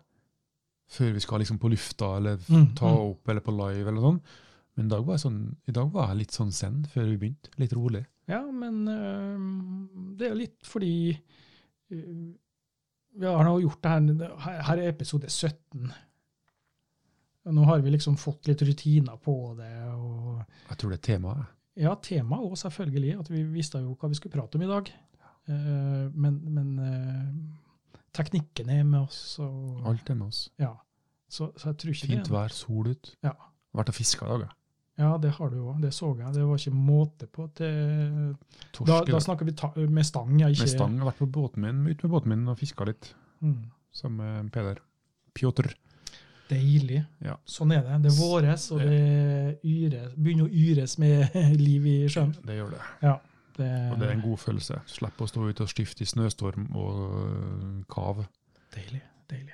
før vi skal liksom på lufta eller f- Mm, ta mm. opp eller på live eller sånn. Men i dag var jeg, sånn, i dag var jeg litt sånn zen før vi begynte. Litt rolig. Ja, men øhm, det er jo litt fordi øh, Vi har nå gjort det her Her er episode 17. Øh, Nå har vi liksom fått litt rutiner på det. og Jeg tror det er temaet. ja, tema òg, selvfølgelig. At vi visste jo hva vi skulle prate om i dag. Eh, men men eh, teknikken er med oss. Og, Alt er med oss. Ja. Så, så jeg tror ikke Fint det. vær, sol ut. Ja. Vært og fiska i dag, ja. Ja, det har du òg. Det så jeg. Det var ikke måte på. til... Da, Torsk. da Da, snakker vi ta med stang, ja. Ikke, med stang. Jeg har vært på båten min, ut med båten min og fiska litt, Mm. sammen med Peder. Pjotr. Deilig. Ja. Sånn er det. Det er våres, og det yres, begynner å yres med liv i sjøen. Det gjør det. Det, Og det er en god følelse. Slipp å stå ute og stifte i snøstorm og øh, kav. Deilig. Deilig.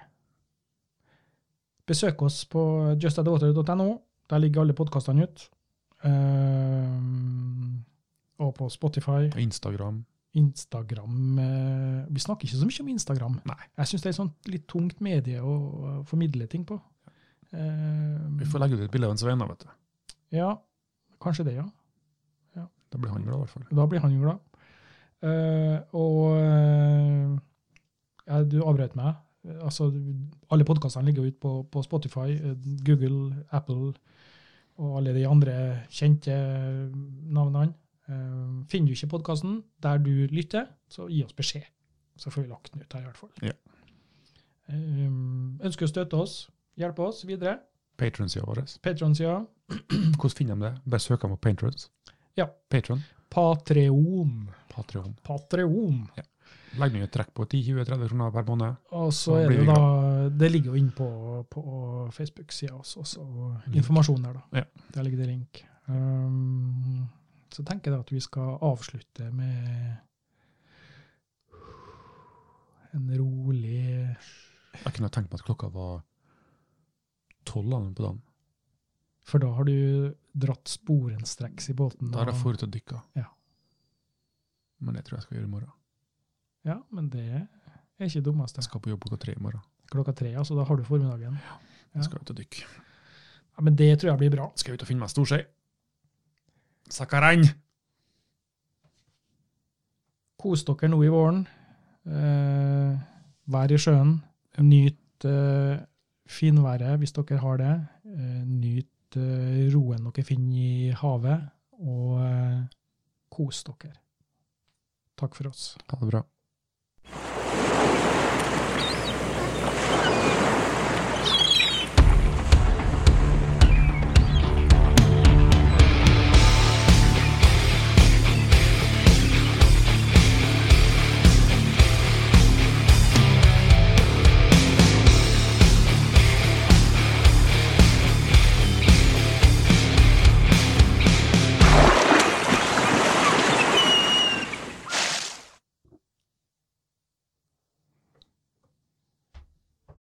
Besøk oss på justadwater.no. Der ligger alle podkastene ut. Ehm, og på Spotify, Og Instagram. Instagram eh, Vi snakker ikke så mye om Instagram. Nei. Jeg syns det er et sånt litt tungt medie å å formidle ting på. Ehm, Vi får legge ut et bilde av en Svein, da, vet du. ja, kanskje det, ja. Da blir han glad, i hvert fall. Da blir han jo glad. Eh, og eh, ja, du avbrøt meg. Eh, Altså, alle podkastene ligger jo ute på, på Spotify, eh, Google, Apple og alle de andre kjente navnene. Eh, finner du ikke podkasten der du lytter, så gi oss beskjed. Så får vi lagt den ut her, i hvert fall. Ja. Eh, ønsker å støtte oss, hjelpe oss videre. Patronsida vår. Patron-sida. Hvordan finner de det? Bare søk dem på Patrons. Ja. Patron. Patreon. Patreon. Patreon. Legg ned et trekk på 10-20-30 kroner per måned. Og så Da er det blir jo vi da Det ligger jo inne på, på Facebook-sida også, så informasjon der, da. Ja. Der ligger det link. Um, så tenker jeg da at vi skal avslutte med en rolig Jeg kunne tenkt meg at klokka var tolv på dagen. For da har du dratt sporenstreks i båten. Da er jeg og- forut og dykka. Ja. Men det tror jeg skal gjøre i morgen. Ja, men det er ikke det dummeste. Jeg skal på jobb klokka tre i morgen. Klokka tre, altså. Da har du formiddagen. Ja. Jeg skal ut og dykke. Ja, men det tror jeg blir bra. Skal ut og finne meg storskei. Sakkarein! Kos dere nå i våren. Eh, vær i sjøen. Nyt eh, finværet hvis dere har det. Eh, nyt eh, roen dere finner i havet, og eh, kos dere. Takk for oss. Ha det bra.